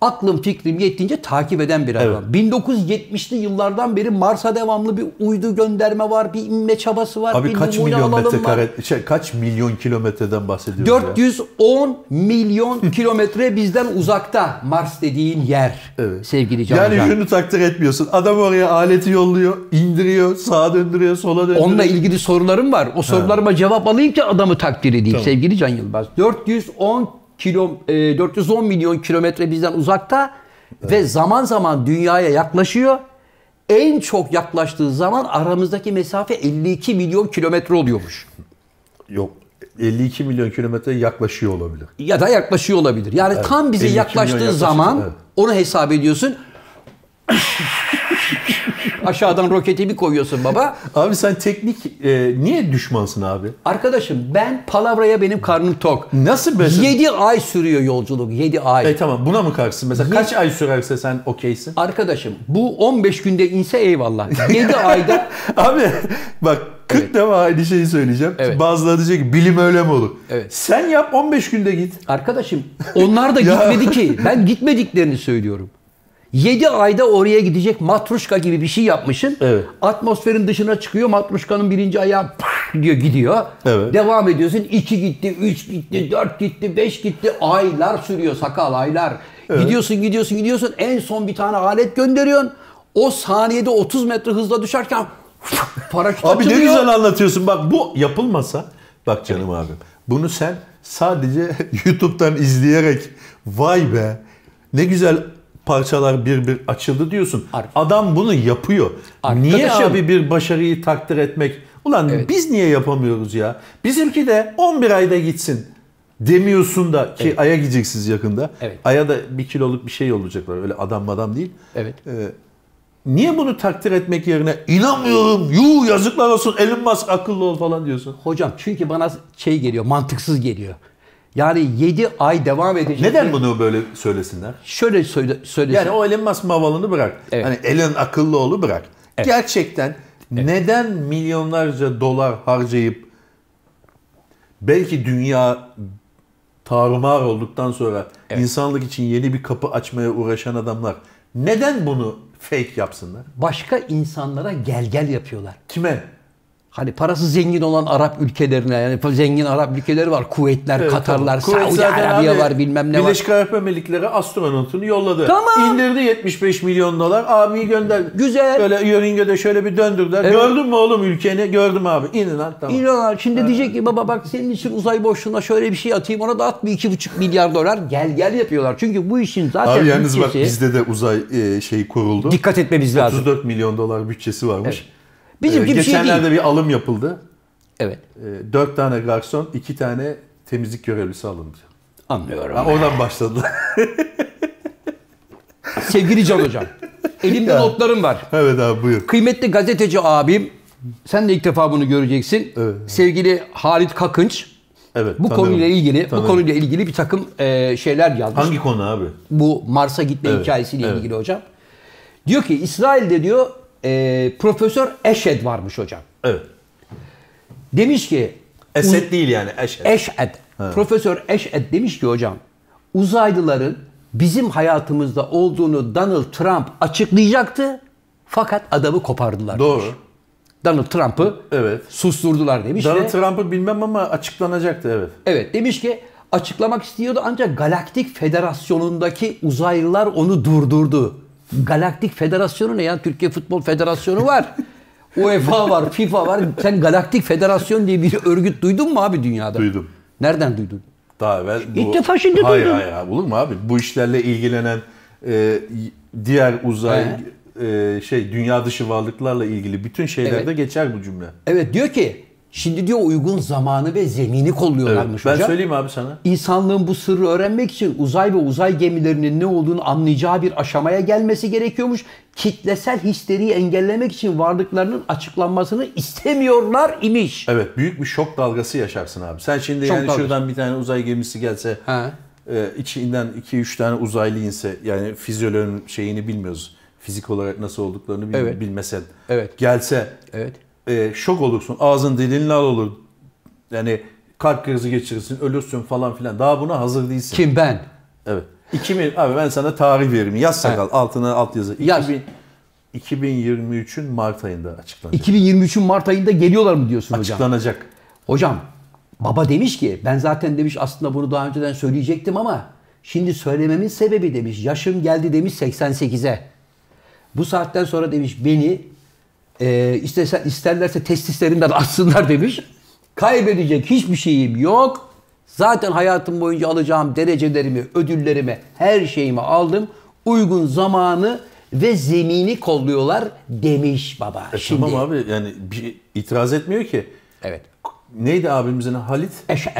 aklım fikrim yettiğince takip eden bir adam. 1970'li yıllardan beri Mars'a devamlı bir uydu gönderme var, bir inme çabası var, Abi bir kaç numune milyon alalım var. metrekare şey, kaç milyon kilometreden bahsediyoruz ya? 410 [LAUGHS] milyon kilometre bizden uzakta Mars dediğin yer Evet. sevgili Can Yani Hocam. şunu takdir etmiyorsun. Adam oraya aleti yolluyor, indiriyor, sağa döndürüyor, sola döndürüyor. Onunla ilgili sorularım var. O sorularıma cevap alayım ki adamı takdir edeyim sevgili Can Yılmaz. 410 kilo e, 410 milyon kilometre bizden uzakta ve zaman zaman dünyaya yaklaşıyor. En çok yaklaştığı zaman aramızdaki mesafe 52 milyon kilometre oluyormuş. Yok. 52 milyon kilometre yaklaşıyor olabilir. Ya da yaklaşıyor olabilir. Yani tam bize 52 milyon yaklaştığı yaklaşıyor, zaman evet. onu hesap ediyorsun. [LAUGHS] Aşağıdan roketi bir koyuyorsun baba. Abi sen teknik e, niye düşmansın abi? Arkadaşım ben palavraya benim karnım tok. Nasıl mesela? 7 ay sürüyor yolculuk. 7 ay. E tamam buna mı karşısın? Mesela kaç ay sürerse sen okeysin? [LAUGHS] Arkadaşım bu 15 günde inse eyvallah. 7 ayda Abi bak 40 defa aynı şeyi söyleyeceğim. Evet. Bazıları diyecek ki bilim öyle mi olur? Evet. Sen yap 15 günde git. arkadaşım [LAUGHS] onlar da Ya. gitmedi ki. Ben gitmediklerini söylüyorum. 7 ayda oraya gidecek matruşka gibi bir şey yapmışsın. Evet. Atmosferin dışına çıkıyor. Matruşkanın birinci ayağı pah diyor gidiyor. Evet. Devam ediyorsun. 2 gitti, 3 gitti, 4 gitti, 5 gitti. Aylar sürüyor sakal aylar. Gidiyorsun, gidiyorsun, gidiyorsun. En son bir tane alet gönderiyorsun. O saniyede 30 metre hızla [LAUGHS] düşerken paraşüt Abi ne açılıyor. güzel anlatıyorsun. Bak bu yapılmasa bak canım abim. Bunu sen sadece [LAUGHS] YouTube'dan izleyerek vay be ne güzel parçalar bir bir açıldı diyorsun. Ar- Adam bunu yapıyor. Arkadaşım- Niye abi bir başarıyı takdir etmek? Ulan biz niye yapamıyoruz ya? Bizimki de 11 ayda gitsin demiyorsun da ki aya gideceksiniz yakında. Evet. Aya da bir kiloluk bir şey olacaklar. Öyle adam adam değil. Evet. Ee, Niye bunu takdir etmek yerine inanmıyorum, yuh yazıklar olsun, Elon Musk akıllı ol falan diyorsun. Hocam çünkü bana şey geliyor, mantıksız geliyor. Yani 7 ay devam edecek. Neden bunu böyle söylesinler? Şöyle söyle, söylesin. Yani o Elon Musk mavalını bırak. Evet. Hani Elon akıllı oğlu bırak. Gerçekten neden milyonlarca dolar harcayıp belki dünya tarumar olduktan sonra insanlık için yeni bir kapı açmaya uğraşan adamlar neden bunu fake yapsınlar? Başka insanlara gel gel yapıyorlar. Kime? Hani parası zengin olan Arap ülkelerine yani zengin Arap ülkeleri var. Kuveytler, Evet, Katarlar, tamam. Kuvvet Saudi zaten Arabiya abi, var bilmem ne var. Birleşik Arap Emirlikleri astronotunu yolladı. Tamam. İndirdi 75 milyon dolar. Abi gönderdi. Güzel. Böyle yörüngede şöyle bir döndürdüler. Evet. Gördün mü oğlum ülkeni? Gördüm abi. İnin lan tamam. İnanın şimdi diyecek ki baba bak senin için uzay boşluğuna şöyle bir şey atayım ona da at bir iki buçuk milyar dolar gel gel yapıyorlar. Çünkü bu işin zaten Abi yalnız bak bütçesi- bizde de uzay e, şeyi kuruldu. dikkat etmemiz lazım. 34 milyon dolar bütçesi varmış. Bizimki Ee, bir şey geçenlerde değil. bir alım yapıldı. Evet 4 tane garson, 2 tane temizlik görevlisi alındı. anlıyorum. Ha, oradan başladılar. [LAUGHS] Sevgili Can [LAUGHS] Hocam elimde notlarım var. evet abi buyur. Kıymetli gazeteci abim, sen de ilk defa bunu göreceksin. Evet. Sevgili Halit Kakınç, Evet. bu tanıyorum. konuyla ilgili, bu Tanıyorum. konuyla ilgili bir takım e, şeyler yazmış. Hangi konu abi? Bu Mars'a gitme Evet, hikayesiyle evet. ilgili hocam. Diyor ki İsrail'de diyor e, Profesör Eşed varmış hocam. Evet. Demiş ki Esed değil yani Eşed. Eşed, Profesör Eşed demiş ki hocam uzaylıların bizim hayatımızda olduğunu Donald Trump açıklayacaktı. Fakat adamı kopardılar. Doğru. demiş. Donald Trump'ı Evet. susturdular demiş. Donald ve- Trump'ı bilmem ama açıklanacaktı evet. Evet demiş ki açıklamak istiyordu ancak Galaktik Federasyonu'ndaki uzaylılar onu durdurdu. Galaktik Federasyonu ne ya? Türkiye Futbol Federasyonu [LAUGHS] var. UEFA var, FIFA var. Sen Galaktik Federasyon diye bir örgüt duydun mu abi dünyada? Duydum. Nereden duydun? Daha evvel bu... İlk defa şimdi hayır, duydum. Hayır hayır olur mu abi? Bu işlerle ilgilenen e, diğer uzay e, şey dünya dışı varlıklarla ilgili bütün şeylerde Evet. geçer bu cümle. Evet, Evet diyor ki şimdi diyor uygun zamanı ve zemini kolluyorlarmış Ben hocam. söyleyeyim abi sana. İnsanlığın bu sırrı öğrenmek için uzay ve uzay gemilerinin ne olduğunu anlayacağı bir aşamaya gelmesi gerekiyormuş. Kitlesel histeriyi engellemek için varlıklarının açıklanmasını istemiyorlar imiş. Evet büyük bir şok dalgası yaşarsın abi. Sen şimdi Şok yani dalgası. şuradan bir tane uzay gemisi gelse Ha. e, içinden 2-3 tane uzaylı inse yani fizyoloğun şeyini bilmiyoruz. Fizik olarak nasıl olduklarını bil- Evet. bilmesen. Evet. Gelse Evet. e, şok olursun. Ağzın dilin lal olur. Yani kalp krizi geçirirsin, ölürsün falan filan. Daha buna hazır değilsin. Kim ben? Evet. 2000 abi ben sana tarih veririm. Yaz sakal altına alt yazı. Yaz. 2000 2023'ün Mart ayında açıklanacak. 2023'ün Mart ayında geliyorlar mı diyorsun hocam? Açıklanacak. Hocam baba demiş ki ben zaten demiş aslında bunu daha önceden söyleyecektim ama şimdi söylememin sebebi demiş yaşım geldi demiş 88'e. Bu saatten sonra demiş beni e, istese, isterlerse testislerinden [LAUGHS] atsınlar demiş. Kaybedecek hiçbir şeyim yok. Zaten hayatım boyunca alacağım derecelerimi, ödüllerimi, her şeyimi aldım. Uygun zamanı ve zemini kolluyorlar demiş baba. E, şimdi. Tamam abi yani bir itiraz etmiyor ki. Evet. Neydi abimizin Halit? Eşed.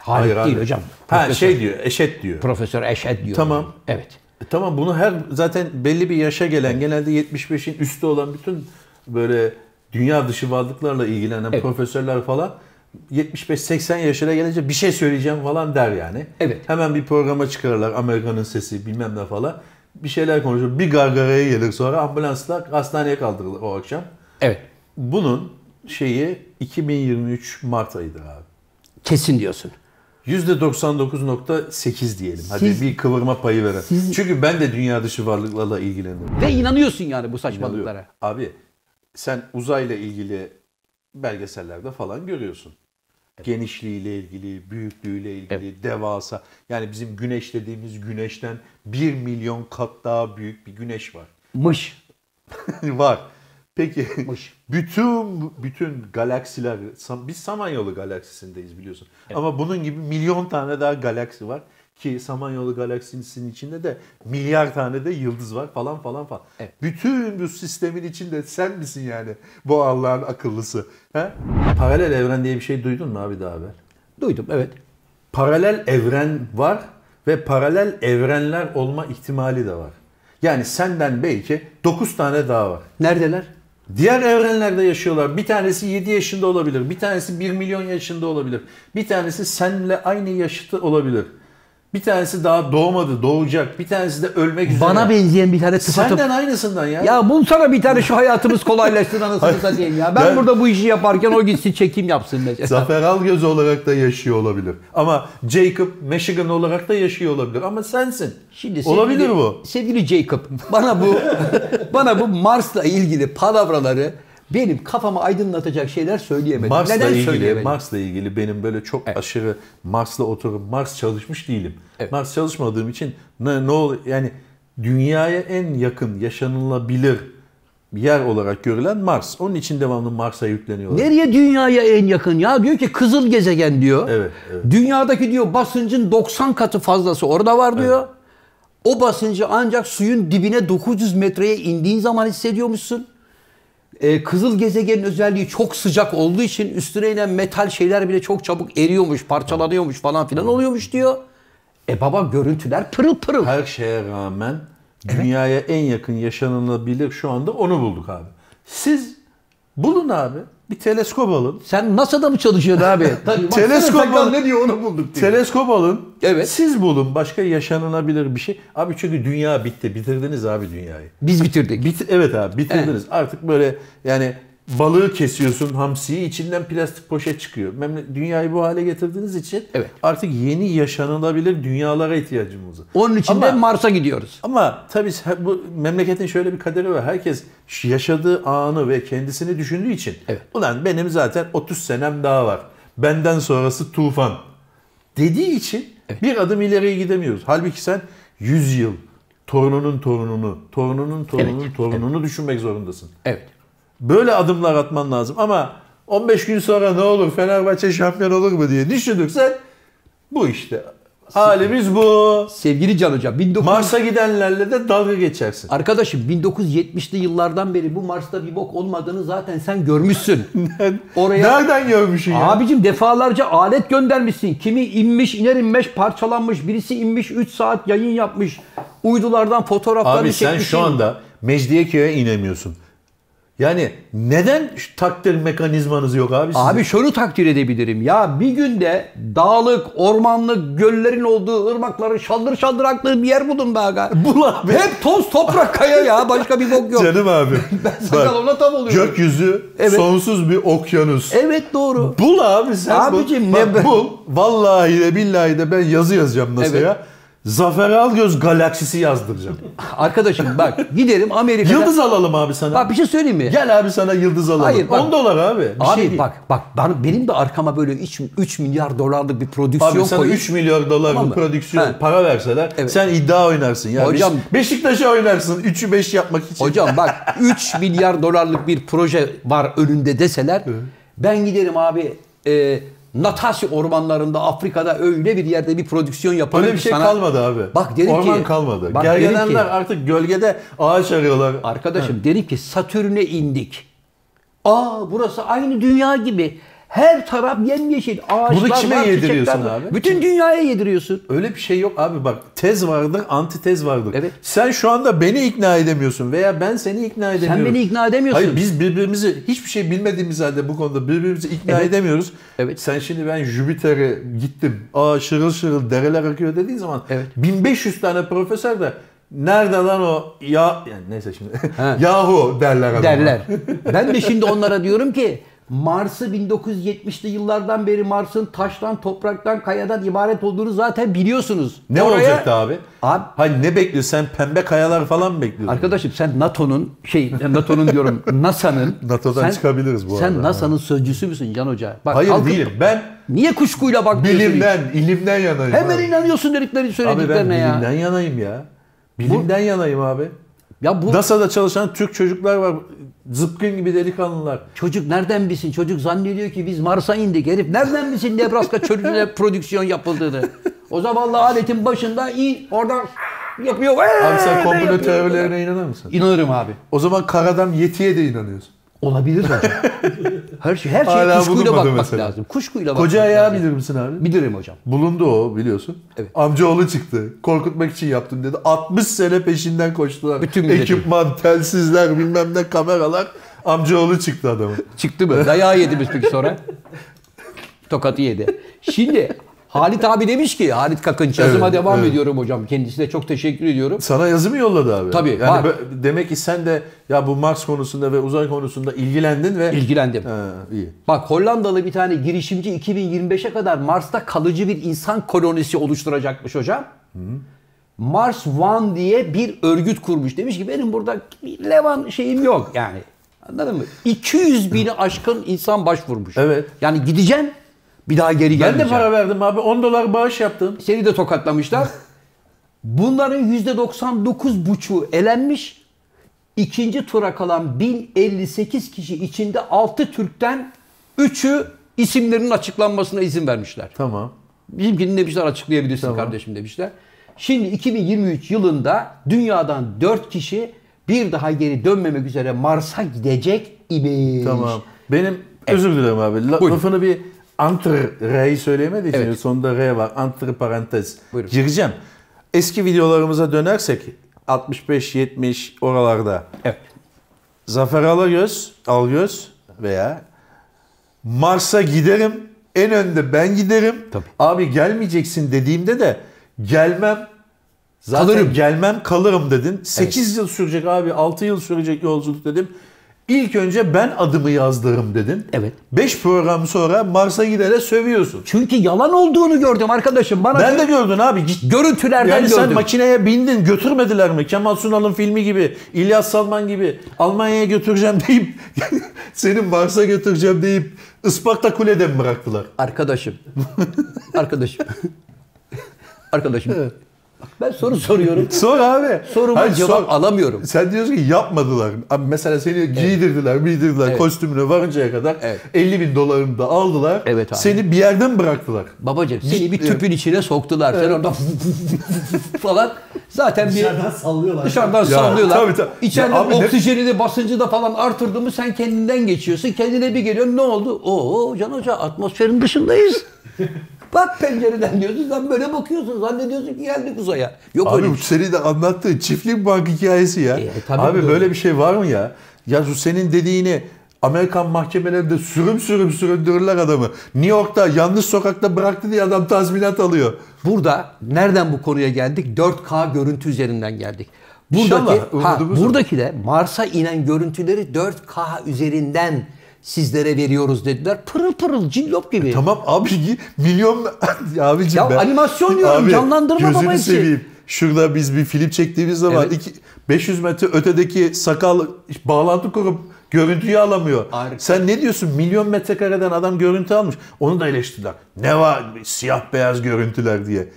Hayır, abi. değil hocam. Ha Profesör. şey diyor, eşet diyor. Profesör Eşed diyor. Tamam. Evet. E, Tamam bunu her zaten belli bir yaşa gelen genelde 75'in üstü olan bütün böyle dünya dışı varlıklarla ilgilenen Evet. profesörler falan 75-80 yaşına gelince bir şey söyleyeceğim falan der yani. Evet. Hemen bir programa çıkarırlar Amerika'nın sesi bilmem ne falan. Bir şeyler konuşur. Bir gargaraya gelir sonra ambulansla hastaneye kaldırılır o akşam. Evet. Bunun şeyi 2023 Mart ayıdır abi. Kesin diyorsun. %99.8 diyelim. Hadi Siz- bir kıvırma payı verin. Siz- Çünkü ben de dünya dışı varlıklarla ilgilenirim. Ve inanıyorsun yani bu Alıyor. saçmalıklara. Abi sen uzayla ilgili belgesellerde falan görüyorsun. Genişliğiyle ilgili, büyüklüğüyle ilgili, devasa. Yani bizim güneş dediğimiz güneşten 1 milyon kat daha büyük bir güneş var. Mış. var. Peki Mış. [LAUGHS] bütün bütün galaksiler, Sam- biz Samanyolu galaksisindeyiz biliyorsun. Ama bunun gibi milyon tane daha galaksi var. Ki Samanyolu galaksisinin içinde de milyar tane de yıldız var falan falan falan. Evet. Bütün bu sistemin içinde sen misin yani bu Allah'ın akıllısı? He? Paralel evren diye bir şey duydun mu abi daha evvel? Duydum evet. paralel evren var ve paralel evrenler olma ihtimali de var. Yani senden belki 9 tane daha var. Neredeler? Diğer evrenlerde yaşıyorlar. Bir tanesi 7 yaşında olabilir. Bir tanesi 1 milyon yaşında olabilir. Bir tanesi seninle aynı yaşıtta olabilir. Bir tanesi daha doğmadı, doğacak. Bir tanesi de ölmek üzere. Bana benzeyen bir tane sıfatım. Senden aynısından ya. Ya bulsana bir tane şu hayatımız kolaylaşsın anasını satayım ya. Ben, Ben- burada bu işi yaparken o gitsin çekim yapsın mesela. Zafer Algöz olarak da yaşıyor olabilir. Ama Jacob Michigan olarak da yaşıyor olabilir. Ama sensin. Şimdi sevgili- olabilir bu. Sevgili Jacob, bana bu [LAUGHS] bana bu Mars'la ilgili palavraları benim kafamı aydınlatacak şeyler söyleyemedin. Mars'la Neden ilgili, söyleyemedin? Mars'la ilgili benim böyle çok aşırı Mars'la oturup Mars çalışmış değilim. Evet. Mars çalışmadığım için ne ne ol yani dünyaya en yakın yaşanılabilir yer olarak görülen Mars. Onun için devamlı Mars'a yükleniyorlar. Nereye dünyaya en yakın ya? Diyor ki kızıl gezegen diyor. Evet, evet. Dünyadaki diyor basıncın 90 katı fazlası orada var diyor. O basıncı ancak suyun dibine 900 metreye indiğin zaman hissediyormuşsun. Ee, kızıl gezegenin özelliği çok sıcak olduğu için üstüne inen metal şeyler bile çok çabuk eriyormuş, parçalanıyormuş falan filan oluyormuş diyor. E baba görüntüler pırıl pırıl. Her şeye rağmen dünyaya en yakın yaşanılabilir şu anda onu bulduk abi. Siz bulun abi. Bir teleskop alın. Sen NASA'da mı çalışıyorsun [LAUGHS] abi? Tabii, baksana Teleskop sakal al- ne diyor onu bulduk diyor. Teleskop alın. Evet. Siz bulun başka yaşanılabilir bir şey. Abi çünkü dünya bitti. Bitirdiniz abi dünyayı. Biz bitirdik. Bit evet abi bitirdiniz. Artık böyle yani balığı kesiyorsun hamsiyi içinden plastik poşet çıkıyor. Memle- Dünyayı bu hale getirdiğiniz için Evet. artık yeni yaşanılabilir dünyalara ihtiyacımız var. Onun için de Ama- Mars'a gidiyoruz. Ama tabii he- bu memleketin şöyle bir kaderi var. Herkes ş- yaşadığı anı ve kendisini düşündüğü için Evet. ulan benim zaten 30 senem daha var. Benden sonrası tufan dediği için bir adım ileriye gidemiyoruz. Halbuki sen 100 yıl torununun torununu, torununun torununun Evet, torununu düşünmek zorundasın. Evet. Böyle adımlar atman lazım ama 15 gün sonra ne olur Fenerbahçe şampiyon olur mu diye düşünürsen bu işte. Halimiz bu. Sevgili Can Hoca, 19... Mars'a gidenlerle de dalga geçersin. Arkadaşım 1970'li yıllardan beri bu Mars'ta bir bok olmadığını zaten sen [LAUGHS] görmüşsün. Oraya- Nereden görmüşsün ya? Abicim defalarca alet göndermişsin. Kimi inmiş, iner inmiş, parçalanmış. Birisi inmiş 3 saat yayın yapmış. Uydulardan fotoğraflarını Abi sen çekmişsin. şu anda Mecidiyeköy'e inemiyorsun. Yani neden şu takdir mekanizmanız yok abi sizin? Abi şunu takdir edebilirim ya bir günde dağlık, ormanlık, göllerin olduğu ırmakların şaldır şaldır aktığı bir yer buldum be aga. bul abi. Hep toz, toprak, kaya ya başka bir [LAUGHS] bok yok. [LAUGHS] Canım abi. ben Sakal ona tam oluyor. Gökyüzü Evet. sonsuz bir okyanus. Evet doğru. Bul abi sen Abicim bul. ne be- Bak, bul. Vallahi de billahi de ben yazı yazacağım nasıl Evet. ya? Zafer Algöz [LAUGHS] galaksisi yazdıracağım. Arkadaşım bak gidelim Amerika'da. yıldız alalım abi sana. Bak bir şey söyleyeyim mi? Gel abi sana yıldız alalım. Hayır, bak- 10 dolar abi. Bir şey Abi değil. bak bak ben- benim de arkama böyle 3, milyar dolarlık bir prodüksiyon Abi koyup sana 3 milyar dolar Tamam bir mı? prodüksiyon He. para verseler Evet. sen iddia oynarsın. Yani Hocam- Beş- Beşiktaş'a oynarsın 3'ü 5 yapmak için. Hocam bak 3 milyar dolarlık bir proje var önünde deseler ben giderim abi e, Natasya ormanlarında Afrika'da öyle bir yerde bir prodüksiyon yaparım Öyle bir ki şey sana- kalmadı abi. Bak derim Orman ki- kalmadı. Bak derim Gergedenler ki- artık gölgede ağaç arıyorlar. Arkadaşım derim ki Satürn'e indik. Aa burası aynı dünya gibi. Her taraf yemyeşil. Ağaçlar kime var, çiçekler yediriyorsun var. abi? Bütün dünyaya yediriyorsun. Öyle bir şey yok abi bak tez vardır antitez vardır. Evet. Sen şu anda beni ikna edemiyorsun veya ben seni ikna edemiyorum. beni ikna edemiyorsun. Hayır biz birbirimizi hiçbir şey bilmediğimiz halde bu konuda birbirimizi ikna Evet. edemiyoruz. Evet. Sen şimdi ben Jüpiter'e gittim aa şırıl şırıl dereler akıyor dediğin zaman Evet. 1500 tane profesör de nerede lan o ya yani neyse şimdi Ha. [LAUGHS] yahu derler adama. derler. ben de şimdi onlara diyorum ki Mars'ı 1970'li yıllardan beri Mars'ın taştan, topraktan, kayadan ibaret olduğunu zaten biliyorsunuz. Ne Oraya- olacaktı abi? Abi- Hayır ne bekliyorsun sen pembe kayalar falan mı bekliyorsun? Arkadaşım sen NATO'nun şey NATO'nun diyorum [LAUGHS] NASA'nın NATO'dan sen- çıkabiliriz bu Sen arada. NASA'nın sözcüsü müsün Can Hoca? Bak, Hayır kalkıp- değilim ben Niye kuşkuyla bakmıyorsun? bilimden, ilimden yanayım. Hemen abi. inanıyorsun dedikleri Abi söylediklerine ben bilimden ya. yanayım ya. Bilimden yanayım abi. Ya bu NASA'da çalışan Türk çocuklar var. Zıpkın gibi delikanlılar. çocuk nereden bilsin? Çocuk zannediyor ki biz Mars'a indik herif. Nereden bilsin Nebraska [LAUGHS] çölüne prodüksiyon yapıldığını? O zamanla aletin başında in oradan yapıyor. Abi sen "Eee!" komplo yapıyor. teorilerine inanır mısın? İnanırım abi. O zaman karadan yetiye de inanıyorsun. Olabilir hocam. Her şey her şeye Hala kuşkuyla bulunmadı bakmak mesela. lazım. Kuşkuyla bakmak Koca ayağı lazım. bilir misin abi? Bilirim hocam. Bulundu o biliyorsun. Evet. Amcaoğlu çıktı. Korkutmak için yaptım dedi. 60 sene peşinden koştular. Bütün milleti. Ekipman, telsizler, bilmem ne kameralar. Amcaoğlu çıktı adamın. Çıktı mı? Dayağı yedi biz peki sonra. Tokatı yedi. Şimdi Halit abi demiş ki Halit Kakınç yazıma Evet, devam evet. ediyorum hocam. Kendisine çok teşekkür ediyorum. Sana yazı mı yolladı abi? Tabii, var. Yani bö- demek ki sen de ya bu Mars konusunda ve uzay konusunda ilgilendin ve İlgilendim. Ha, iyi. Bak Hollandalı bir tane girişimci 2025'e kadar Mars'ta kalıcı bir insan kolonisi oluşturacakmış hocam. Mars One diye bir örgüt kurmuş. Demiş ki benim burada bir Levan şeyim yok yani. Anladın mı? 200 bini aşkın insan başvurmuş. Evet. Yani gideceğim bir daha geri Ben de gelmeyeceğim. para verdim abi. 10 dolar bağış yaptım. Seni de tokatlamışlar. Bunların %99,5'u elenmiş. İkinci tura kalan 1058 kişi içinde 6 Türk'ten 3'ü isimlerinin açıklanmasına izin vermişler. Tamam. Bizimkini demişler açıklayabilirsin kardeşim demişler. Şimdi 2023 yılında dünyadan 4 kişi bir daha geri dönmemek üzere Mars'a gidecek imiş. Tamam. Benim özür dilerim abi. La, Buyurun. lafını bir antre re'yi söyleyemediği için Evet. sonunda re var. Antre parantez. Buyurun. Gireceğim. Eski videolarımıza dönersek 65-70 oralarda Evet. Zafer Alagöz, Algöz veya Mars'a giderim. En önde ben giderim. Tabii. Abi gelmeyeceksin dediğimde de gelmem Zaten Kalırım. gelmem kalırım dedin. 8 yıl sürecek abi 6 yıl sürecek yolculuk dedim. İlk önce ben adımı yazdığım dedin. Evet. 5 program sonra Mars'a gidene sövüyorsun. Çünkü yalan olduğunu gördüm arkadaşım. Bana Ben de gördün abi. Ciddi. görüntülerden Yani sen gördüm. makineye bindin götürmediler mi? Kemal Sunal'ın filmi gibi, İlyas Salman gibi Almanya'ya götüreceğim deyip [LAUGHS] senin Mars'a götüreceğim deyip Isparta Kule'de mi bıraktılar? Arkadaşım. [LAUGHS] arkadaşım. arkadaşım. Bak ben soru soruyorum. Sor abi. Soruma Hayır, cevap sor. alamıyorum. Sen diyorsun ki yapmadılar. Abi mesela seni giydirdiler, bildirdiler Evet. kostümüne varıncaya kadar Evet. 50 bin dolarını da aldılar. Evet abi. Seni bir yerden bıraktılar. Babacım seni bir tüpün içine soktular. Sen orada [LAUGHS] falan. Zaten bir Dışarıdan sallıyorlar. dışarıdan Ya, sallıyorlar. tabii, tabii. İçeride Ya abi ne- oksijeni de basıncı da falan artırdı mı sen kendinden geçiyorsun. Kendine bir geliyorsun ne oldu? Oo Can Hoca atmosferin [LAUGHS] dışındayız. Bak pencereden diyorsun sen böyle bakıyorsun zannediyorsun ki geldik uzaya. Yok öyle Abi bir bu şey. seni de anlattığın çiftlik bank hikayesi ya. E, tabii Abi böyle. böyle bir şey var mı ya? Ya şu senin dediğini Amerikan mahkemelerinde sürüm sürüm süründürürler adamı. New York'ta yanlış sokakta bıraktı diye adam tazminat alıyor. Burada nereden bu konuya geldik? 4K görüntü üzerinden geldik. İnşallah, Buradaki, ha, umudumuz o. buradaki de Mars'a inen görüntüleri 4K üzerinden sizlere veriyoruz dediler. Pırıl pırıl cillop gibi. E, Tamam abi gi- milyon [LAUGHS] Ya abicim Ya ben- animasyon diyorum, canlandırma gözünü baba hepsi. seveyim. Şurada biz bir film çektiğimiz zaman Evet. iki- 500 metre ötedeki sakal bağlantı kurup görüntüyü alamıyor. Harika. Sen ne diyorsun? Milyon metrekareden adam görüntü almış. Onu da eleştirdiler. Ne var siyah beyaz görüntüler diye.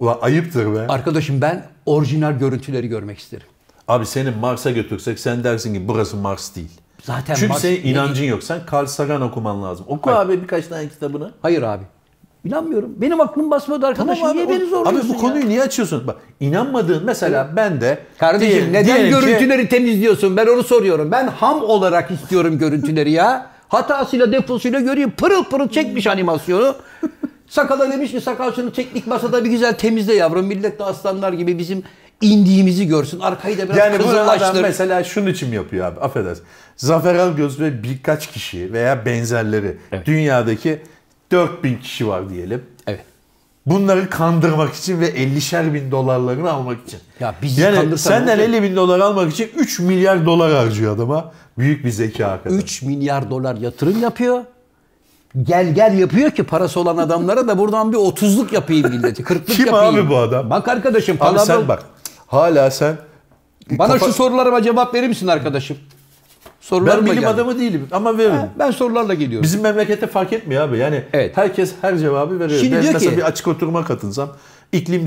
Ulan ayıptır be. Arkadaşım ben orijinal görüntüleri görmek isterim. Abi seni Mars'a götürsek sen dersin ki burası Mars değil. Zaten Çünkü Mars- senin inancın yok. Sen Carl Sagan okuman lazım. Oku abi birkaç tane kitabını. Hayır abi. İnanmıyorum. Benim aklım basmadı arkadaşım. Tamam abi, Niye beni o- zorluyorsun Abi bu ya? konuyu niye açıyorsun? Bak inanmadığın mesela ben de Kardeşim diyelim- neden diyelim ki- görüntüleri temizliyorsun? Ben onu soruyorum. Ben ham olarak istiyorum görüntüleri ya. Hatasıyla defosuyla göreyim. Pırıl pırıl çekmiş animasyonu. Sakala demiş ki sakal şunu teknik masada bir güzel temizle yavrum. Millet de aslanlar gibi bizim indiğimizi görsün. Arkayı da biraz yani bu adam kızıllaştır. mesela şunun için yapıyor abi affedersin. Zafer Algöz ve birkaç kişi veya benzerleri dünyadaki 4000 kişi var diyelim. Evet. Bunları kandırmak için ve 50'şer bin dolarlarını almak için. Ya bizi yani kandırsan senden ne olacak? 50 bin dolar almak için 3 milyar dolar harcıyor adama. Büyük bir zeka hakikaten. 3 milyar dolar yatırım yapıyor. Gel gel yapıyor ki parası olan adamlara da buradan bir 30'luk yapayım milleti. 40'lık Kim yapayım. abi bu adam? Bak arkadaşım. Abi palavra- sen bak hala sen Bana Kafa- şu sorularıma cevap verir misin arkadaşım? Sorularıma ben bilim geldi. adamı değilim ama veririm. Ben sorularla geliyorum. Bizim memlekette fark etmiyor abi. Yani Evet. herkes her cevabı veriyor. Şimdi ben diyor mesela ki- bir açık oturuma katılsam iklim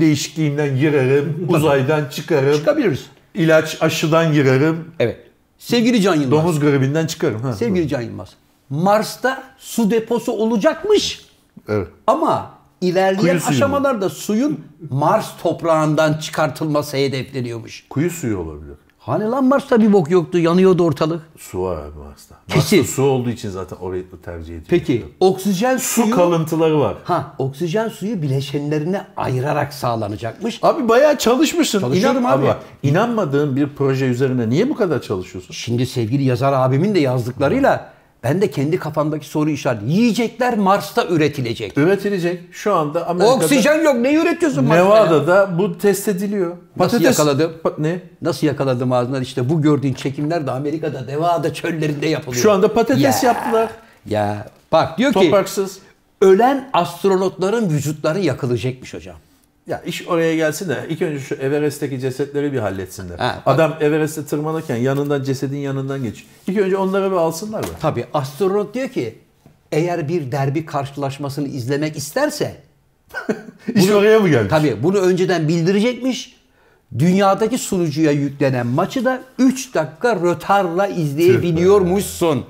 [LAUGHS] değişikliğinden girerim, uzaydan çıkarım, Çıkabiliriz. ilaç aşıdan girerim, Evet. Sevgili Can Yılmaz. domuz gribinden çıkarım. Ha, Sevgili Can Yılmaz. Mars'ta su deposu olacakmış. Evet. Ama ilerleyen Kuyu suyu mu? aşamalarda suyun Mars toprağından çıkartılması hedefleniyormuş. Kuyu suyu olabilir. Hani lan Mars'ta bir bok yoktu, yanıyordu ortalık. Su var abi Mars'ta. Kesin. Mars'ta su olduğu için zaten orayı tercih ediyor. Peki oksijen suyu Su kalıntıları var. ha oksijen suyu bileşenlerine ayırarak sağlanacakmış. Abi bayağı çalışmışsın. Çalışıyorum İnan- abi. bak, inanmadığın bir proje üzerine niye bu kadar çalışıyorsun? Şimdi sevgili yazar abimin de yazdıklarıyla ben de kendi kafamdaki soru işareti. Yiyecekler Mars'ta üretilecek. Üretilecek şu anda Amerika'da Oksijen yok. Ne üretiyorsun Mars'ta? ya? Nevada'da bu test ediliyor. yakaladı? Pa- ne? Nasıl yakaladım ağzından? İşte bu gördüğün çekimler de Amerika'da Nevada çöllerinde yapılıyor. Şu anda patates Ya, yaptılar. Ya bak diyor ki Topraksız. ölen astronotların vücutları yakılacakmış hocam. Ya iş oraya gelsin de ilk önce şu Everest'teki cesetleri bir halletsinler. Ha, bak. Adam Everest'e tırmanırken yanından cesedin yanından geç. İlk önce onları bir alsınlar da. Tabii astronot diyor ki eğer bir derbi karşılaşmasını izlemek isterse İş oraya mı gelmiş? Tabii bunu önceden bildirecekmiş. Dünyadaki sunucuya yüklenen maçı da 3 dakika rötarla izleyebiliyormuşsun.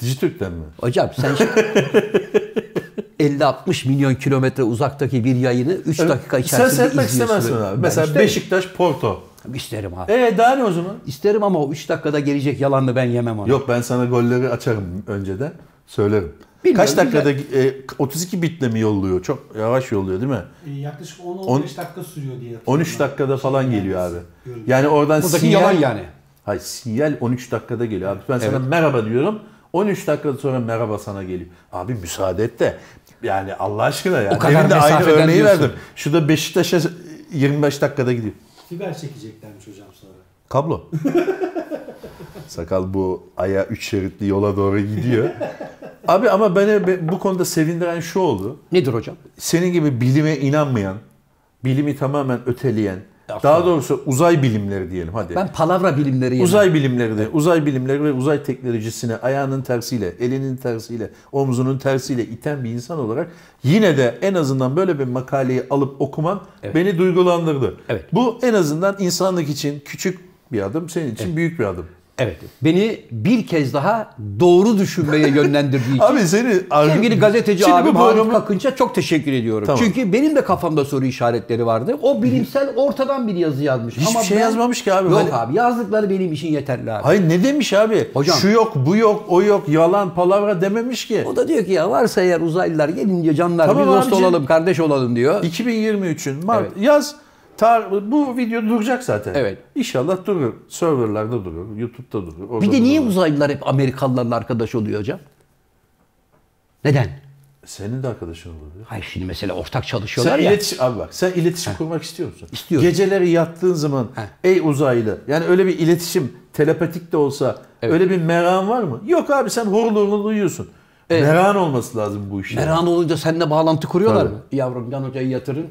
Dijitürk'ten mi? Hocam sen şimdi 50-60 milyon kilometre uzaktaki bir yayını 3 dakika Sen içerisinde seyretmek izliyorsun. istemezsin abi. Ben Mesela isterim. Beşiktaş Porto. İsterim abi. E daha ne o zaman? İsterim ama o 3 dakikada gelecek yalanını ben yemem onu. Yok ben sana golleri açarım önceden. Söylerim. Bilmiyorum, Kaç dakikada e, 32 bitle mi yolluyor? Çok yavaş yolluyor değil mi? E, yaklaşık 10-15 On- dakika sürüyor diye. hatırlıyorum 13 ben. dakikada falan geliyor abi. Görüntü. Yani oradan Buradaki sinyal... yalan yani. Hayır sinyal 13 dakikada geliyor abi. Ben sana merhaba diyorum. 13 dakika sonra merhaba sana geliyor. Abi müsaade et de. Yani Allah aşkına ya. O kadar Demin de aynı mesafeden örneği diyorsun. verdim. Şurada Beşiktaş'a 25 dakikada gidiyor. Fiber çekeceklermiş hocam sonra. Kablo. [LAUGHS] Sakal bu aya üç şeritli yola doğru gidiyor. Abi ama beni be- bu konuda sevindiren şu oldu. Nedir hocam? Senin gibi bilime inanmayan, bilimi tamamen öteleyen, Aslında- daha doğrusu uzay bilimleri diyelim hadi. Ben palavra bilimleri yedim. Uzay bilimleri de, uzay bilimleri ve uzay teknolojisine ayağının tersiyle, elinin tersiyle, omzunun tersiyle iten bir insan olarak yine de en azından böyle bir makaleyi alıp okuman beni duygulandırdı. Evet. Bu en azından insanlık için küçük bir adım, senin için büyük bir adım. Evet. Beni bir kez daha doğru düşünmeye [LAUGHS] yönlendirdiği için Abi seni sevgili gazeteci Şimdi abim bu Harun programı- Akınç'a çok teşekkür ediyorum. Tamam. Çünkü benim de kafamda soru işaretleri vardı. O bilimsel ortadan bir yazı yazmış. Hiçbir Ama şey ben- yazmamış ki abi. Yok Hani- abi yazdıkları benim için yeterli abi. Hayır ne demiş abi? Hocam- Şu yok, bu yok, o yok, yalan, palavra dememiş ki. O da diyor ki ya varsa eğer uzaylılar gelince canlar Tamam bir dost abicim. olalım, kardeş olalım diyor. 2023'ün Mart Evet. yaz tar- bu video duracak zaten. Evet. İnşallah durur. Serverlarda durur, YouTube'da durur. orada Bir de niye durur. uzaylılar hep Amerikalılarla arkadaş oluyor hocam? Neden? senin de arkadaşın olabilir. Hayır şimdi mesela ortak Sen çalışıyorlar ya. iletişim abi bak sen iletişim kurmak istiyor musun? İstiyorum. Geceleri yattığın zaman ey uzaylı yani öyle bir iletişim telepatik de olsa Evet. öyle bir meran var mı? Yok abi sen horul horul uyuyorsun. Meran olması lazım bu işin. Meran olunca seninle bağlantı kuruyorlar Tabii. mı? Yavrum Can Hoca'yı [LAUGHS] yatırın.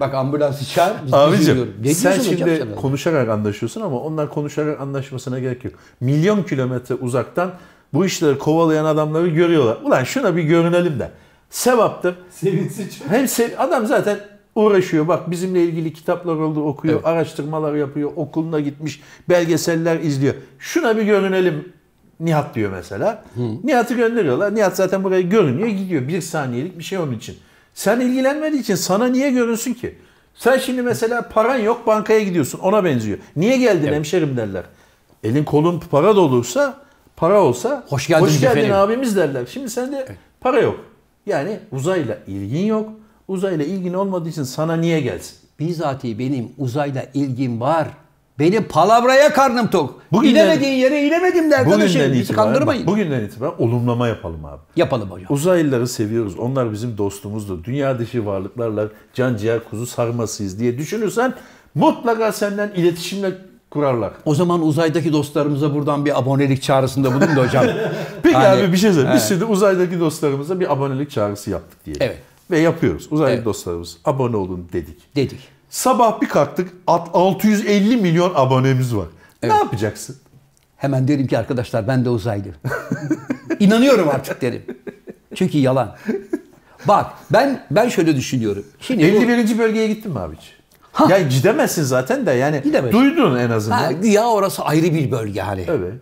Bak ambulansı çağır. Biz Abicim üzülüyoruz. Ne sen diyorsun hocam şimdi sen? konuşarak anlaşıyorsun ama onlar konuşarak anlaşmasına gerek yok. Milyon kilometre uzaktan bu işleri kovalayan adamları görüyorlar. Ulan şuna bir görünelim de. Sevaptır. Sevinsin çok. Hem se- adam zaten uğraşıyor. Bak bizimle ilgili kitaplar oldu okuyor, Evet. araştırmalar yapıyor, okuluna gitmiş, belgeseller izliyor. Şuna bir görünelim Nihat diyor mesela. Nihat'ı gönderiyorlar. Nihat zaten buraya görünüyor, gidiyor. Bir saniyelik bir şey onun için. Sen ilgilenmediği için sana niye görünsün ki? Sen şimdi mesela paran yok bankaya gidiyorsun. Ona benziyor. Niye geldin hemşerim derler. Elin kolun para doluysa, para olsa Hoş geldiniz hoş geldin efendim." abi abimiz derler. Şimdi sende para yok. Yani uzayla ilgin yok. Uzayla ilgin olmadığı için sana niye gelsin? Bizatihi benim uzayla ilgim var. Benim palavraya karnım tok. Bugünden- İnemediğin yere inemedim de arkadaşım. Bugünden Bizi itibaren, kandırmayın. bak, bugünden itibaren olumlama yapalım abi. Yapalım hocam. Uzaylıları seviyoruz. Onlar bizim dostumuzdur. Dünya dışı varlıklarla can ciğer kuzu sarmasıyız diye düşünürsen mutlaka senden iletişimle kurarlar. O zaman uzaydaki dostlarımıza buradan bir abonelik çağrısında bulun da [LAUGHS] hocam. Peki Yani- abi bir şey söyleyeyim. Biz Evet. şimdi uzaydaki dostlarımıza bir abonelik çağrısı yaptık diye. Evet. Ve yapıyoruz. Uzaylı Evet. dostlarımız abone olun dedik. Dedik. Sabah bir kalktık alt- 650 milyon abonemiz var. Ne yapacaksın? Hemen derim ki arkadaşlar ben de uzaylıyım. İnanıyorum artık derim. Çünkü yalan. Bak ben ben şöyle düşünüyorum. Şimdi bu- 51. bölgeye gittin mi abi hiç? Ya gidemezsin zaten de yani Gidemez. duydun en azından. Ha, güya orası ayrı bir bölge hani. Evet.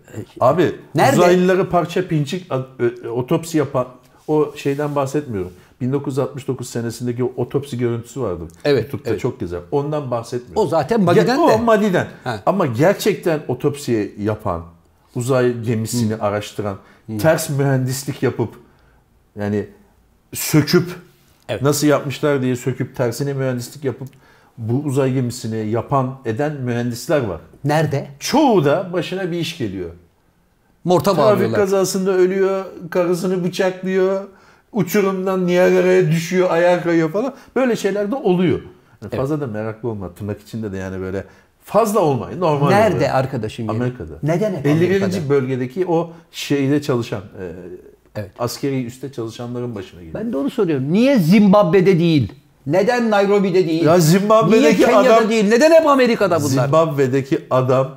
Abi Nerede? uzaylıları parça pinçik a- ö- otopsi yapan o şeyden bahsetmiyorum. 1969 senesindeki o otopsi görüntüsü vardı. Evet, YouTube'da evet. çok güzel. Ondan bahsetmiyorum. O zaten Madi'den Ge- o de. Madi'den. Ha. Ama gerçekten otopsi yapan, uzay gemisini araştıran, ters mühendislik yapıp yani söküp Evet. nasıl yapmışlar diye söküp tersine mühendislik yapıp bu uzay gemisini yapan eden mühendisler var. Nerede? Çoğu da başına bir iş geliyor. Morta Trafik bağlıyorlar. kazasında ölüyor, karısını bıçaklıyor, uçurumdan Niagara'ya düşüyor, ayağa kayıyor falan. Böyle şeyler de oluyor. Yani Fazla da meraklı olma. Tırnak içinde de yani böyle fazla olmayın. Normal Nerede oluyor. arkadaşım? yeri? Amerika'da. Neden hep 51. Amerika'da? bölgedeki o şeyde çalışan, e, Evet. askeri üste çalışanların başına geliyor. Ben de onu soruyorum. Niye Zimbabwe'de değil? Neden Nairobi'de değil? Ya Zimbabwe'deki Niye Kenya'da adam- değil? Neden hep Amerika'da bunlar? Zimbabwe'deki adam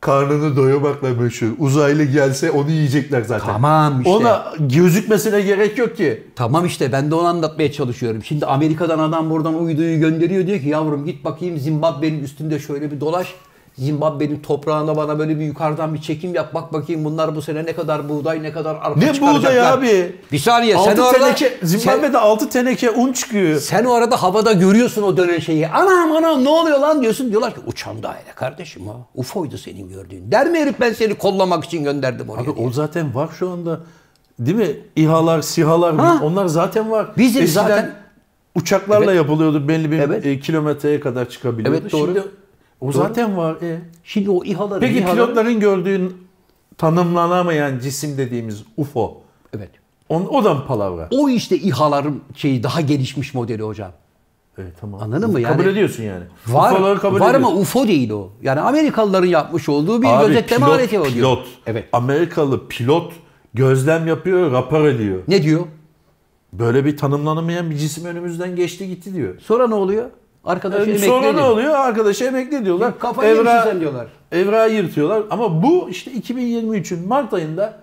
karnını doyurmakla meşhur. Uzaylı gelse onu yiyecekler zaten. Tamam işte. Ona gözükmesine gerek yok ki. Tamam işte ben de onu anlatmaya çalışıyorum. Şimdi Amerika'dan adam buradan uyduyu gönderiyor diyor ki yavrum git bakayım Zimbabwe'nin üstünde şöyle bir dolaş. Zimbabwe'nin toprağına bana böyle bir yukarıdan bir çekim yap. Bak bakayım bunlar bu sene ne kadar buğday ne kadar arpa Ne çıkaracaklar. buğday abi? Bir saniye sen şey- Altı o arada, teneke, Zimbabwe'de sen, 6 teneke un çıkıyor. sen o arada havada görüyorsun o dönen şeyi. Anam anam ne oluyor lan diyorsun. Diyorlar ki uçan daire kardeşim ha. UFO'ydu senin gördüğün. Der mi herif ben seni kollamak için gönderdim oraya. Abi diye. o zaten var şu anda. Değil mi? İHA'lar, SİHA'lar Ha. onlar zaten var. Bizim Eskiden zaten- uçaklarla Evet. yapılıyordu. Belli bir Evet. e, kilometreye kadar çıkabiliyordu. Evet, doğru. Şimdi o zaten var. E. Şimdi o İHA'ları... Peki MİHA'ları- pilotların gördüğün tanımlanamayan cisim dediğimiz UFO. Evet. On, o da mı palavra? O işte İHA'ların şeyi daha gelişmiş modeli hocam. Evet, tamam. Anladın mı? Kabul Yani- ediyorsun yani. Var, UFO'ları kabul var ama ediyorsun. UFO değil o. Yani Amerikalıların yapmış olduğu bir Abi, gözetleme pilot, aleti o diyor. Pilot. Evet. Amerikalı pilot gözlem yapıyor, rapor ediyor. Ne diyor? Böyle bir tanımlanamayan bir cisim önümüzden geçti gitti diyor. Sonra ne oluyor? Arkadaş Yani şey emekli Ee, sonra ne ediyor. oluyor? Arkadaşı emekli diyorlar. Kafayı yemişsin sen diyorlar. Evrağı yırtıyorlar. Ama bu işte 2023'ün Mart ayında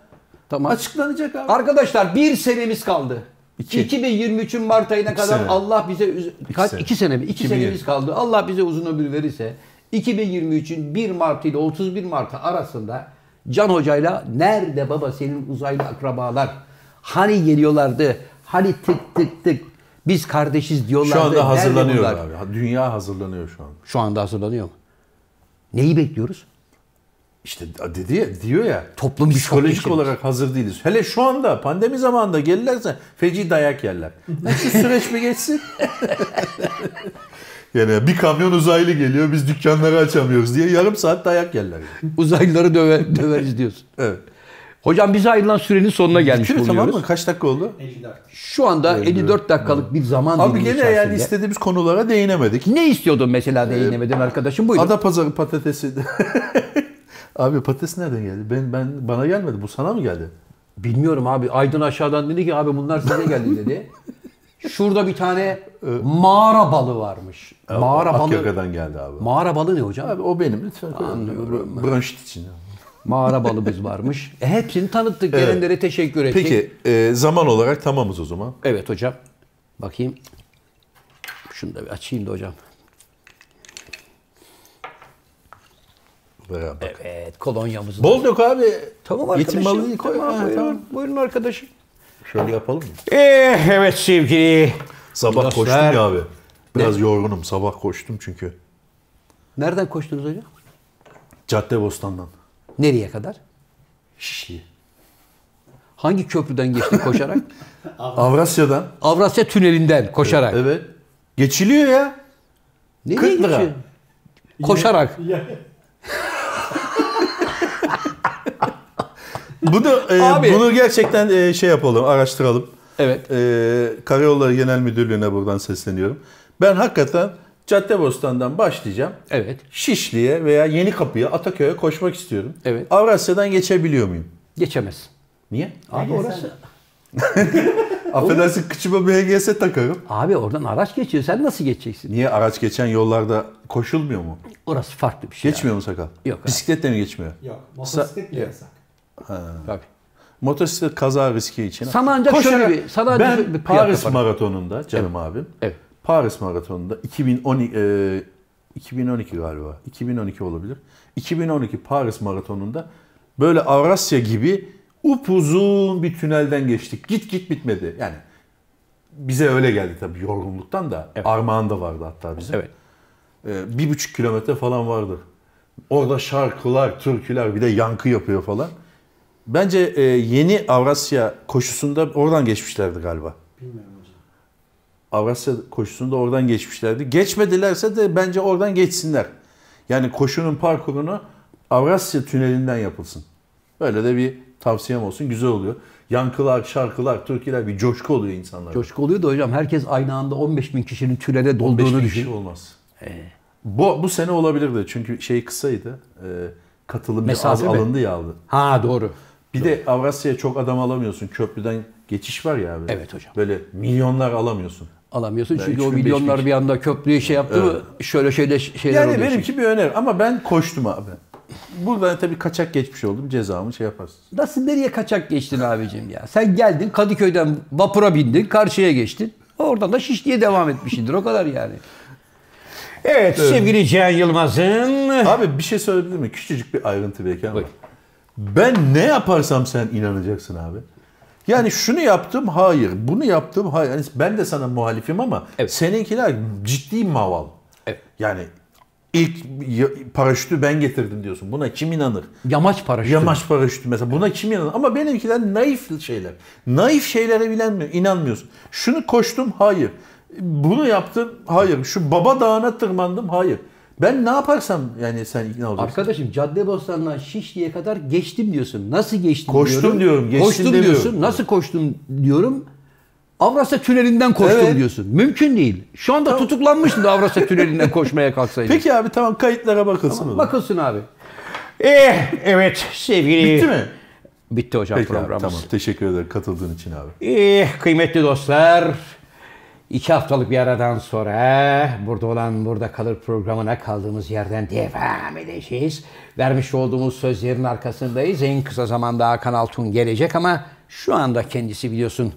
Tamam. açıklanacak abi. Arkadaşlar bir senemiz kaldı. İki. 2023'ün Mart ayına kadar sene. Allah bize üz- kaç sene. iki sene mi? İki 2020. senemiz kaldı. Allah bize uzun ömür verirse 2023'ün 1 Mart ile 31 Mart arasında Can Hoca'yla nerede baba senin uzaylı akrabalar? Hani geliyorlardı? Hani tık tık tık biz kardeşiz diyorlardı. Şu anda Nerede hazırlanıyor bunlar? abi. Dünya hazırlanıyor şu anda. Şu anda hazırlanıyor mu? Neyi [LAUGHS] bekliyoruz? İşte dedi ya, diyor ya. Toplum bir şok psikolojik geçirmiş. olarak hazır değiliz. Hele şu anda pandemi zamanında gelirlerse feci dayak yerler. [LAUGHS] Şu süreç bir geçsin. [LAUGHS] yani bir kamyon uzaylı geliyor biz dükkanları açamıyoruz diye yarım saat dayak yerler. yani. Uzaylıları döve, döveriz diyorsun. Evet. Hocam bize ayrılan sürenin sonuna gelmiş Bitiyor, bulunuyoruz. tamam mı? Kaç dakika oldu? 54. Şu anda 54 dakikalık bir zaman Abi dilimi gene içerisinde. yani istediğimiz konulara değinemedik. Ne istiyordun mesela değinemeden arkadaşım? Buyurun. Adapazarı patatesi. [LAUGHS] Abi patates nereden geldi? Ben ben bana gelmedi. Bu sana mı geldi? Bilmiyorum abi. Aydın aşağıdan dedi ki abi bunlar size geldi dedi. [LAUGHS] Ee, Şurada bir tane mağara balı varmış. Mağara balı. Akyaka'dan geldi abi. Mağara E balı ne hocam? Abi o benim lütfen. Anlıyorum. Bronşit için. Mağara balımız [LAUGHS] varmış. E, hepsini tanıttık. Evet. Gelenlere teşekkür ettik. Peki e, zaman olarak tamamız o zaman. Evet hocam. Bakayım. Şunu da bir açayım da hocam. Beraber. Evet kolonyamızı. da- Bol dök abi. Tamam Yetim arkadaşım. balıyı koy. Tamam, Ha, buyurun. tamam. buyurun arkadaşım. Şöyle yapalım mı? Eh, evet sevgili. Sabah Biraz koştum ver. ya abi. Biraz yorgunum. Sabah koştum çünkü. Nereden koştunuz hocam? Caddebostan'dan. Nereye kadar? Şişli. Hangi köprüden geçtin [LAUGHS] koşarak? Avrasya'dan. Avrasya Tüneli'nden koşarak. Evet. Geçiliyor ya. Nereye 40 lira. geçiyorsun? Koşarak. Bu da e, Abi. bunu gerçekten e, şey yapalım, araştıralım. Evet. E, Karayolları Genel Müdürlüğü'ne buradan sesleniyorum. Ben hakikaten Caddebostan'dan başlayacağım. Evet. Şişli'ye veya Yenikapı'ya, Ataköy'e koşmak istiyorum. Evet. Avrasya'dan geçebiliyor muyum? Geçemez. Niye? Abi Hayır, orası. Affedersin kıçıma BGS takarım. Abi oradan araç geçiyor. Sen nasıl geçeceksin? Niye araç geçen yollarda koşulmuyor mu? Orası farklı bir şey. Geçmiyor mu sakal? Yok abi. Bisikletle mi geçmiyor? Yok. Motosiklet bile Yok. yasak. abi. Tabii. Motosiklet kaza riski için. Sana ancak Koşarak- şöyle bir- sana ancak ben şöyle bir kıyak Paris yaparım. maratonunda canım abim. Evet. Paris maratonunda 2010 e, 2012 galiba. 2012 olabilir. 2012 Paris maratonunda böyle Avrasya gibi upuzun bir tünelden geçtik. Git git bitmedi. Yani bize öyle geldi tabii yorgunluktan da. Armağan da vardı hatta bizim. Evet. Ee, bir buçuk kilometre falan vardır. Orada şarkılar, türküler bir de yankı yapıyor falan. Bence e, yeni Avrasya koşusunda oradan geçmişlerdi galiba. Bilmiyorum hocam. Avrasya koşusunda oradan geçmişlerdi. Geçmedilerse de bence oradan geçsinler. Yani koşunun parkurunu Avrasya tünelinden yapılsın. Böyle de bir tavsiyem olsun. Güzel oluyor. Yankılar, şarkılar, türküler bir coşku oluyor insanlarda. Coşku oluyor da hocam herkes aynı anda 15 bin kişinin tünele dolduğunu 15 düşün. kişi olmaz. Bu, bu sene olabilirdi çünkü şey kısaydı. E, katılım biraz az Mesafe mi? alındı ya aldı. Ha doğru. Bir de Avrasya'ya çok adam alamıyorsun. Köprüden geçiş var ya abi. Evet hocam. Böyle milyonlar alamıyorsun. Alamıyorsun çünkü üç o bin, beş milyonlar bin. bir anda köprüyü şey yaptı mı şöyle şeyler şeyler Yani oluyor. benimki bir öneri ama ben koştum abi. Buradan tabii kaçak geçmiş oldum. Cezamı şey yaparsın. Nasıl nereye kaçak geçtin abicim ya? Sen geldin Kadıköy'den vapura bindin, karşıya geçtin. Oradan da Şişli'ye devam etmişsindir. O kadar yani. Evet, sevgili Cihan Yılmaz'ın... Abi bir şey söyleyebilir miyim? Küçücük bir ayrıntı belki ama. Buyur. Ben ne yaparsam sen inanacaksın abi. Yani şunu yaptım hayır, bunu yaptım hayır. Yani ben de sana muhalifim ama Evet. seninkiler ciddi maval. Evet. Yani ilk y- paraşütü ben getirdim diyorsun. Buna kim inanır? Yamaç paraşütü. Yamaç paraşütü mesela buna kim inanır? Ama benimkiler naif şeyler. Naif şeylere bilenmiyor, inanmıyorsun. Şunu koştum, hayır. Bunu yaptım, hayır. Şu baba dağına tırmandım, hayır. Ben ne yaparsam yani sen ikna olacaksın. Arkadaşım Caddebostan'dan Şişli'ye kadar geçtim diyorsun. Nasıl geçtim Koştum diyorum. diyorum, geçtim Koştum demiyorum. diyorsun. Nasıl koştum diyorum. Avrasya Tüneli'nden koştum Evet. diyorsun. Mümkün değil. Şu anda tutuklanmışsın da [LAUGHS] Avrasya Tüneli'nden koşmaya kalksaydın. Peki abi tamam kayıtlara bakılsın. o zaman. Bakılsın abi. Eh, evet sevgili... Bitti mi? Bitti hocam Peki abi, programımız. tamam. Teşekkür ederim katıldığın için abi. Eh, kıymetli dostlar, iki haftalık bir aradan sonra burada olan Burada Kalır programına kaldığımız yerden devam edeceğiz. Vermiş olduğumuz sözlerin arkasındayız. En kısa zamanda Hakan Altun gelecek ama şu anda kendisi biliyorsun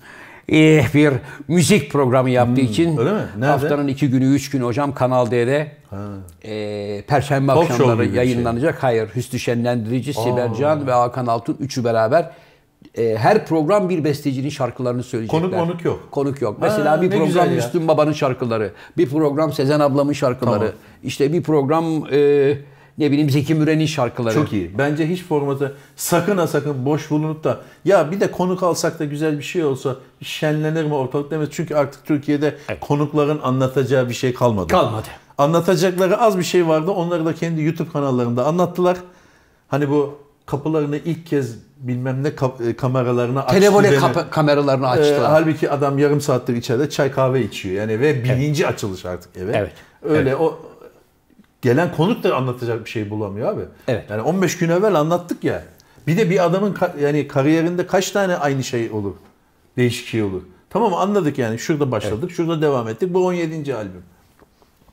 eh, bir müzik programı yaptığı için Hmm, öyle mi? Nerede? haftanın iki günü, üç günü hocam Kanal D'de eh, Perşembe Talk show akşamları gibi bir şey. yayınlanacak yayınlanacak. Hayır. Hüsnü Şenlendirici, Sibel Can ve Hakan Altun üçü beraber e, her program bir bestecinin şarkılarını söyleyecekler. Konuk monuk yok. Konuk yok. Mesela bir ne program güzel ya. Müslüm Baba'nın şarkıları, bir program Sezen ablamın şarkıları, Tamam. işte bir program e, ne bileyim Zeki Müren'in şarkıları. Çok iyi. Bence hiç formatı sakın ha sakın boş bulunup da ya bir de konuk alsak da güzel bir şey olsa şenlenir mi ortalık demez. Çünkü artık Türkiye'de konukların anlatacağı bir şey kalmadı. Kalmadı. Anlatacakları az bir şey vardı. Onları da kendi YouTube kanallarında anlattılar. Hani bu kapılarını ilk kez bilmem ne kap- e, kameralarına açtı. Televole denen- kapa- kameralarını Ee, açtılar. halbuki adam yarım saattir içeride çay kahve içiyor yani ve birinci açılış artık eve. Evet. Öyle o gelen konuk da anlatacak bir şey bulamıyor abi. Evet. Yani 15 gün evvel anlattık ya. Bir de bir adamın ka- yani kariyerinde kaç tane aynı şey olur? Değişik şey olur. Tamam anladık yani. Şurada başladık, şurada devam ettik. Bu 17. albüm.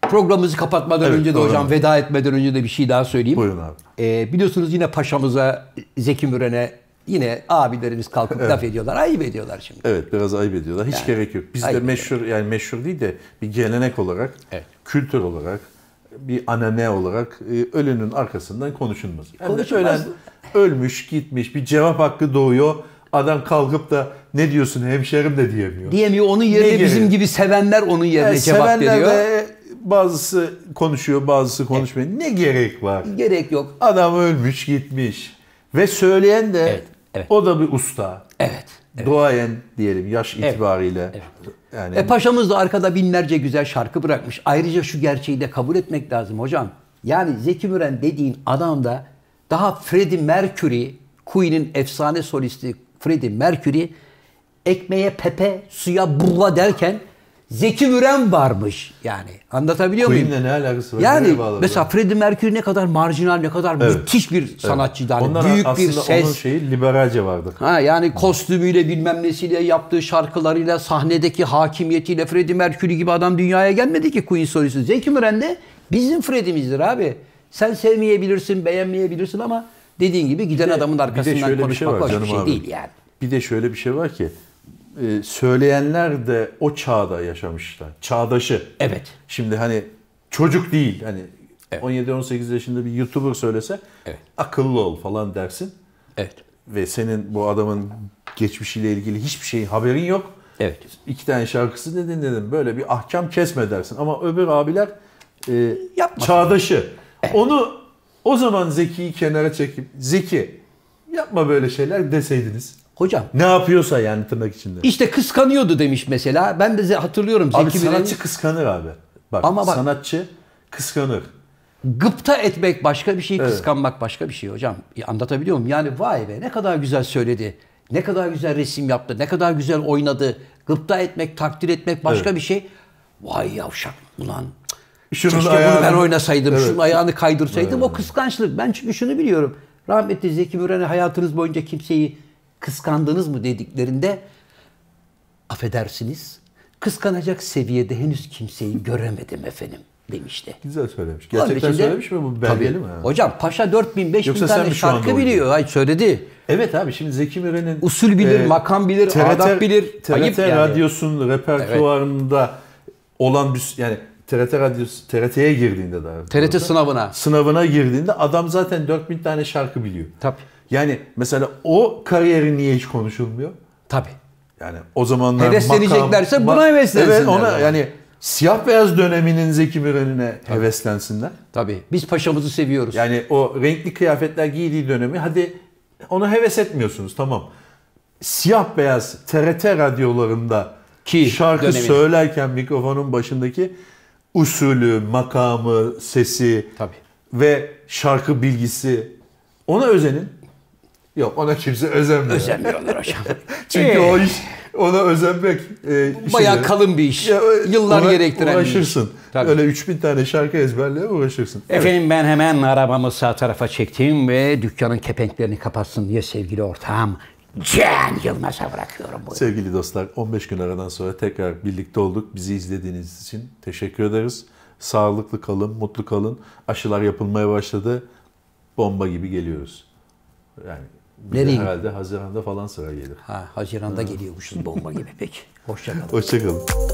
Programımızı kapatmadan Evet, önce de doğru. hocam veda etmeden önce de bir şey daha söyleyeyim. Buyurun abi. Ee, biliyorsunuz yine paşamıza, Zeki Müren'e yine abilerimiz kalkıp laf ediyorlar. Ayıp ediyorlar şimdi. Evet biraz ayıp ediyorlar. Hiç gerek yok. Bizde ayıp meşhur yani meşhur değil de bir gelenek olarak, Evet. kültür olarak, bir anane olarak e, ölünün arkasından konuşulmaz. Hem de Konuşulmaz. ölen ölmüş gitmiş bir cevap hakkı doğuyor. Adam kalkıp da ne diyorsun hemşerim de diyemiyor. Diyemiyor onun yerine Ne gereği? bizim gibi sevenler onun yerine Yani cevap sevenler veriyor. de bazısı konuşuyor bazısı konuşmuyor. Ne gerek var? Gerek yok. Adam ölmüş gitmiş. Ve söyleyen de Evet, evet. o da bir usta. Evet. Duayen diyelim yaş itibariyle. Yani E paşamız da arkada binlerce güzel şarkı bırakmış. Ayrıca şu gerçeği de kabul etmek lazım hocam. Yani Zeki Müren dediğin adam da daha Freddie Mercury, Queen'in efsane solisti Freddie Mercury ekmeğe pepe, suya burla derken Zeki Müren varmış yani. Anlatabiliyor muyum? Queen'le ne alakası var? Yani Nereye bağladı? mesela Freddie Mercury ne kadar marjinal, ne kadar Evet. müthiş bir sanatçıydı. Hani Ondan büyük bir aslında ses. onun şey- şeyi liberalce vardı. Ha yani kostümüyle bilmem nesiyle yaptığı şarkılarıyla sahnedeki hakimiyetiyle Freddie Mercury gibi adam dünyaya gelmedi ki Queen solisti. Zeki Müren de bizim Freddie'mizdir abi. Sen sevmeyebilirsin, beğenmeyebilirsin ama dediğin gibi giden adamın bir de arkasından şöyle bir şey konuşmak var hoş bir canım şey abi. değil yani. Bir de şöyle bir şey var ki e, söyleyenler de o çağda yaşamışlar. Çağdaşı. Evet. Şimdi hani çocuk değil hani Evet. 17-18 yaşında bir YouTuber söylese Evet. akıllı ol falan dersin. Evet. Ve senin bu adamın geçmişiyle ilgili hiçbir şeyin haberin yok. Evet. İki tane şarkısı dedin dedim böyle bir ahkam kesme dersin. Ama öbür abiler e, Yapma. çağdaşı. Onu o zaman Zeki'yi kenara çekip Zeki yapma böyle şeyler deseydiniz. Hocam Ne yapıyorsa yani tırnak içinde. işte kıskanıyordu demiş mesela. Ben de ze- hatırlıyorum abi Zeki Müren'i sanatçı kıskanır abi. Bak, Ama bak- sanatçı kıskanır. gıpta etmek başka bir şey, kıskanmak başka bir şey hocam. Ya Anlatabiliyor muyum? Yani vay be ne kadar güzel söyledi. Ne kadar güzel resim yaptı. Ne kadar güzel oynadı. Gıpta etmek, takdir etmek başka Evet. bir şey. Vay yavşak ulan. Şunun Keşke ayağını- bunu ben oynasaydım. Evet. Şunun ayağını kaydırsaydım. O kıskançlık. Ben çünkü şunu biliyorum. Rahmetli Zeki Müren'e hayatınız boyunca kimseyi kıskandınız mı dediklerinde affedersiniz. Kıskanacak seviyede henüz kimseyi göremedim efendim demişti. Güzel söylemiş. Onun Gerçekten için de- söylemiş mi bu belgeli Tabii. mi? ha? Hocam Paşa 4000 5000 Yoksa sen tane mi şu anda şarkı uydun? biliyor. Hayır söyledi. Evet abi şimdi Zeki Müren'in e, Usul bilir, makam bilir, adab bilir. TRT Ayıp yani. radyosunun repertuarında olan bir yani TRT radyosu TRT'ye girdiğinde daha TRT doğrusu, sınavına. sınavına girdiğinde adam zaten 4000 tane şarkı biliyor. Tabii. Yani mesela o kariyeri niye hiç konuşulmuyor? Tabii. Yani o zamanlar Hevesleneceklerse buna ma- heveslensinler Evet ona yani. yani siyah beyaz döneminin Zeki Müren'ine heveslensinler. Tabii. Biz paşamızı seviyoruz. Yani o renkli kıyafetler giydiği dönemi hadi ona heves etmiyorsunuz tamam. Siyah beyaz TRT radyolarında Ki şarkı dönemini. söylerken mikrofonun başındaki usulü, makamı, sesi Tabii. ve şarkı bilgisi ona özenin. Yok ona kimse özenmiyor. Özenmiyorlar hocam. [LAUGHS] Çünkü Ee, o iş ona özenmek. E, Bayağı şeyleri. kalın bir iş. Ya, e, Yıllar uğra- gerektiren bir iş. Uğraşırsın. Tabii. Öyle 3000 tane şarkı ezberleye uğraşırsın. Evet. Efendim ben hemen arabamı sağ tarafa çektim ve dükkanın kepenklerini kapatsın diye sevgili ortağım Can Yılmaz'a bırakıyorum bu. Sevgili dostlar 15 gün aradan sonra tekrar birlikte olduk. Bizi izlediğiniz için teşekkür ederiz. Sağlıklı kalın, mutlu kalın. Aşılar yapılmaya başladı. Bomba gibi geliyoruz. Yani bize Nereye? herhalde Haziran'da falan sıra gelir. Ha, Haziran'da geliyormuşuz bomba gibi. Peki. Hoşçakalın. Hoşçakalın.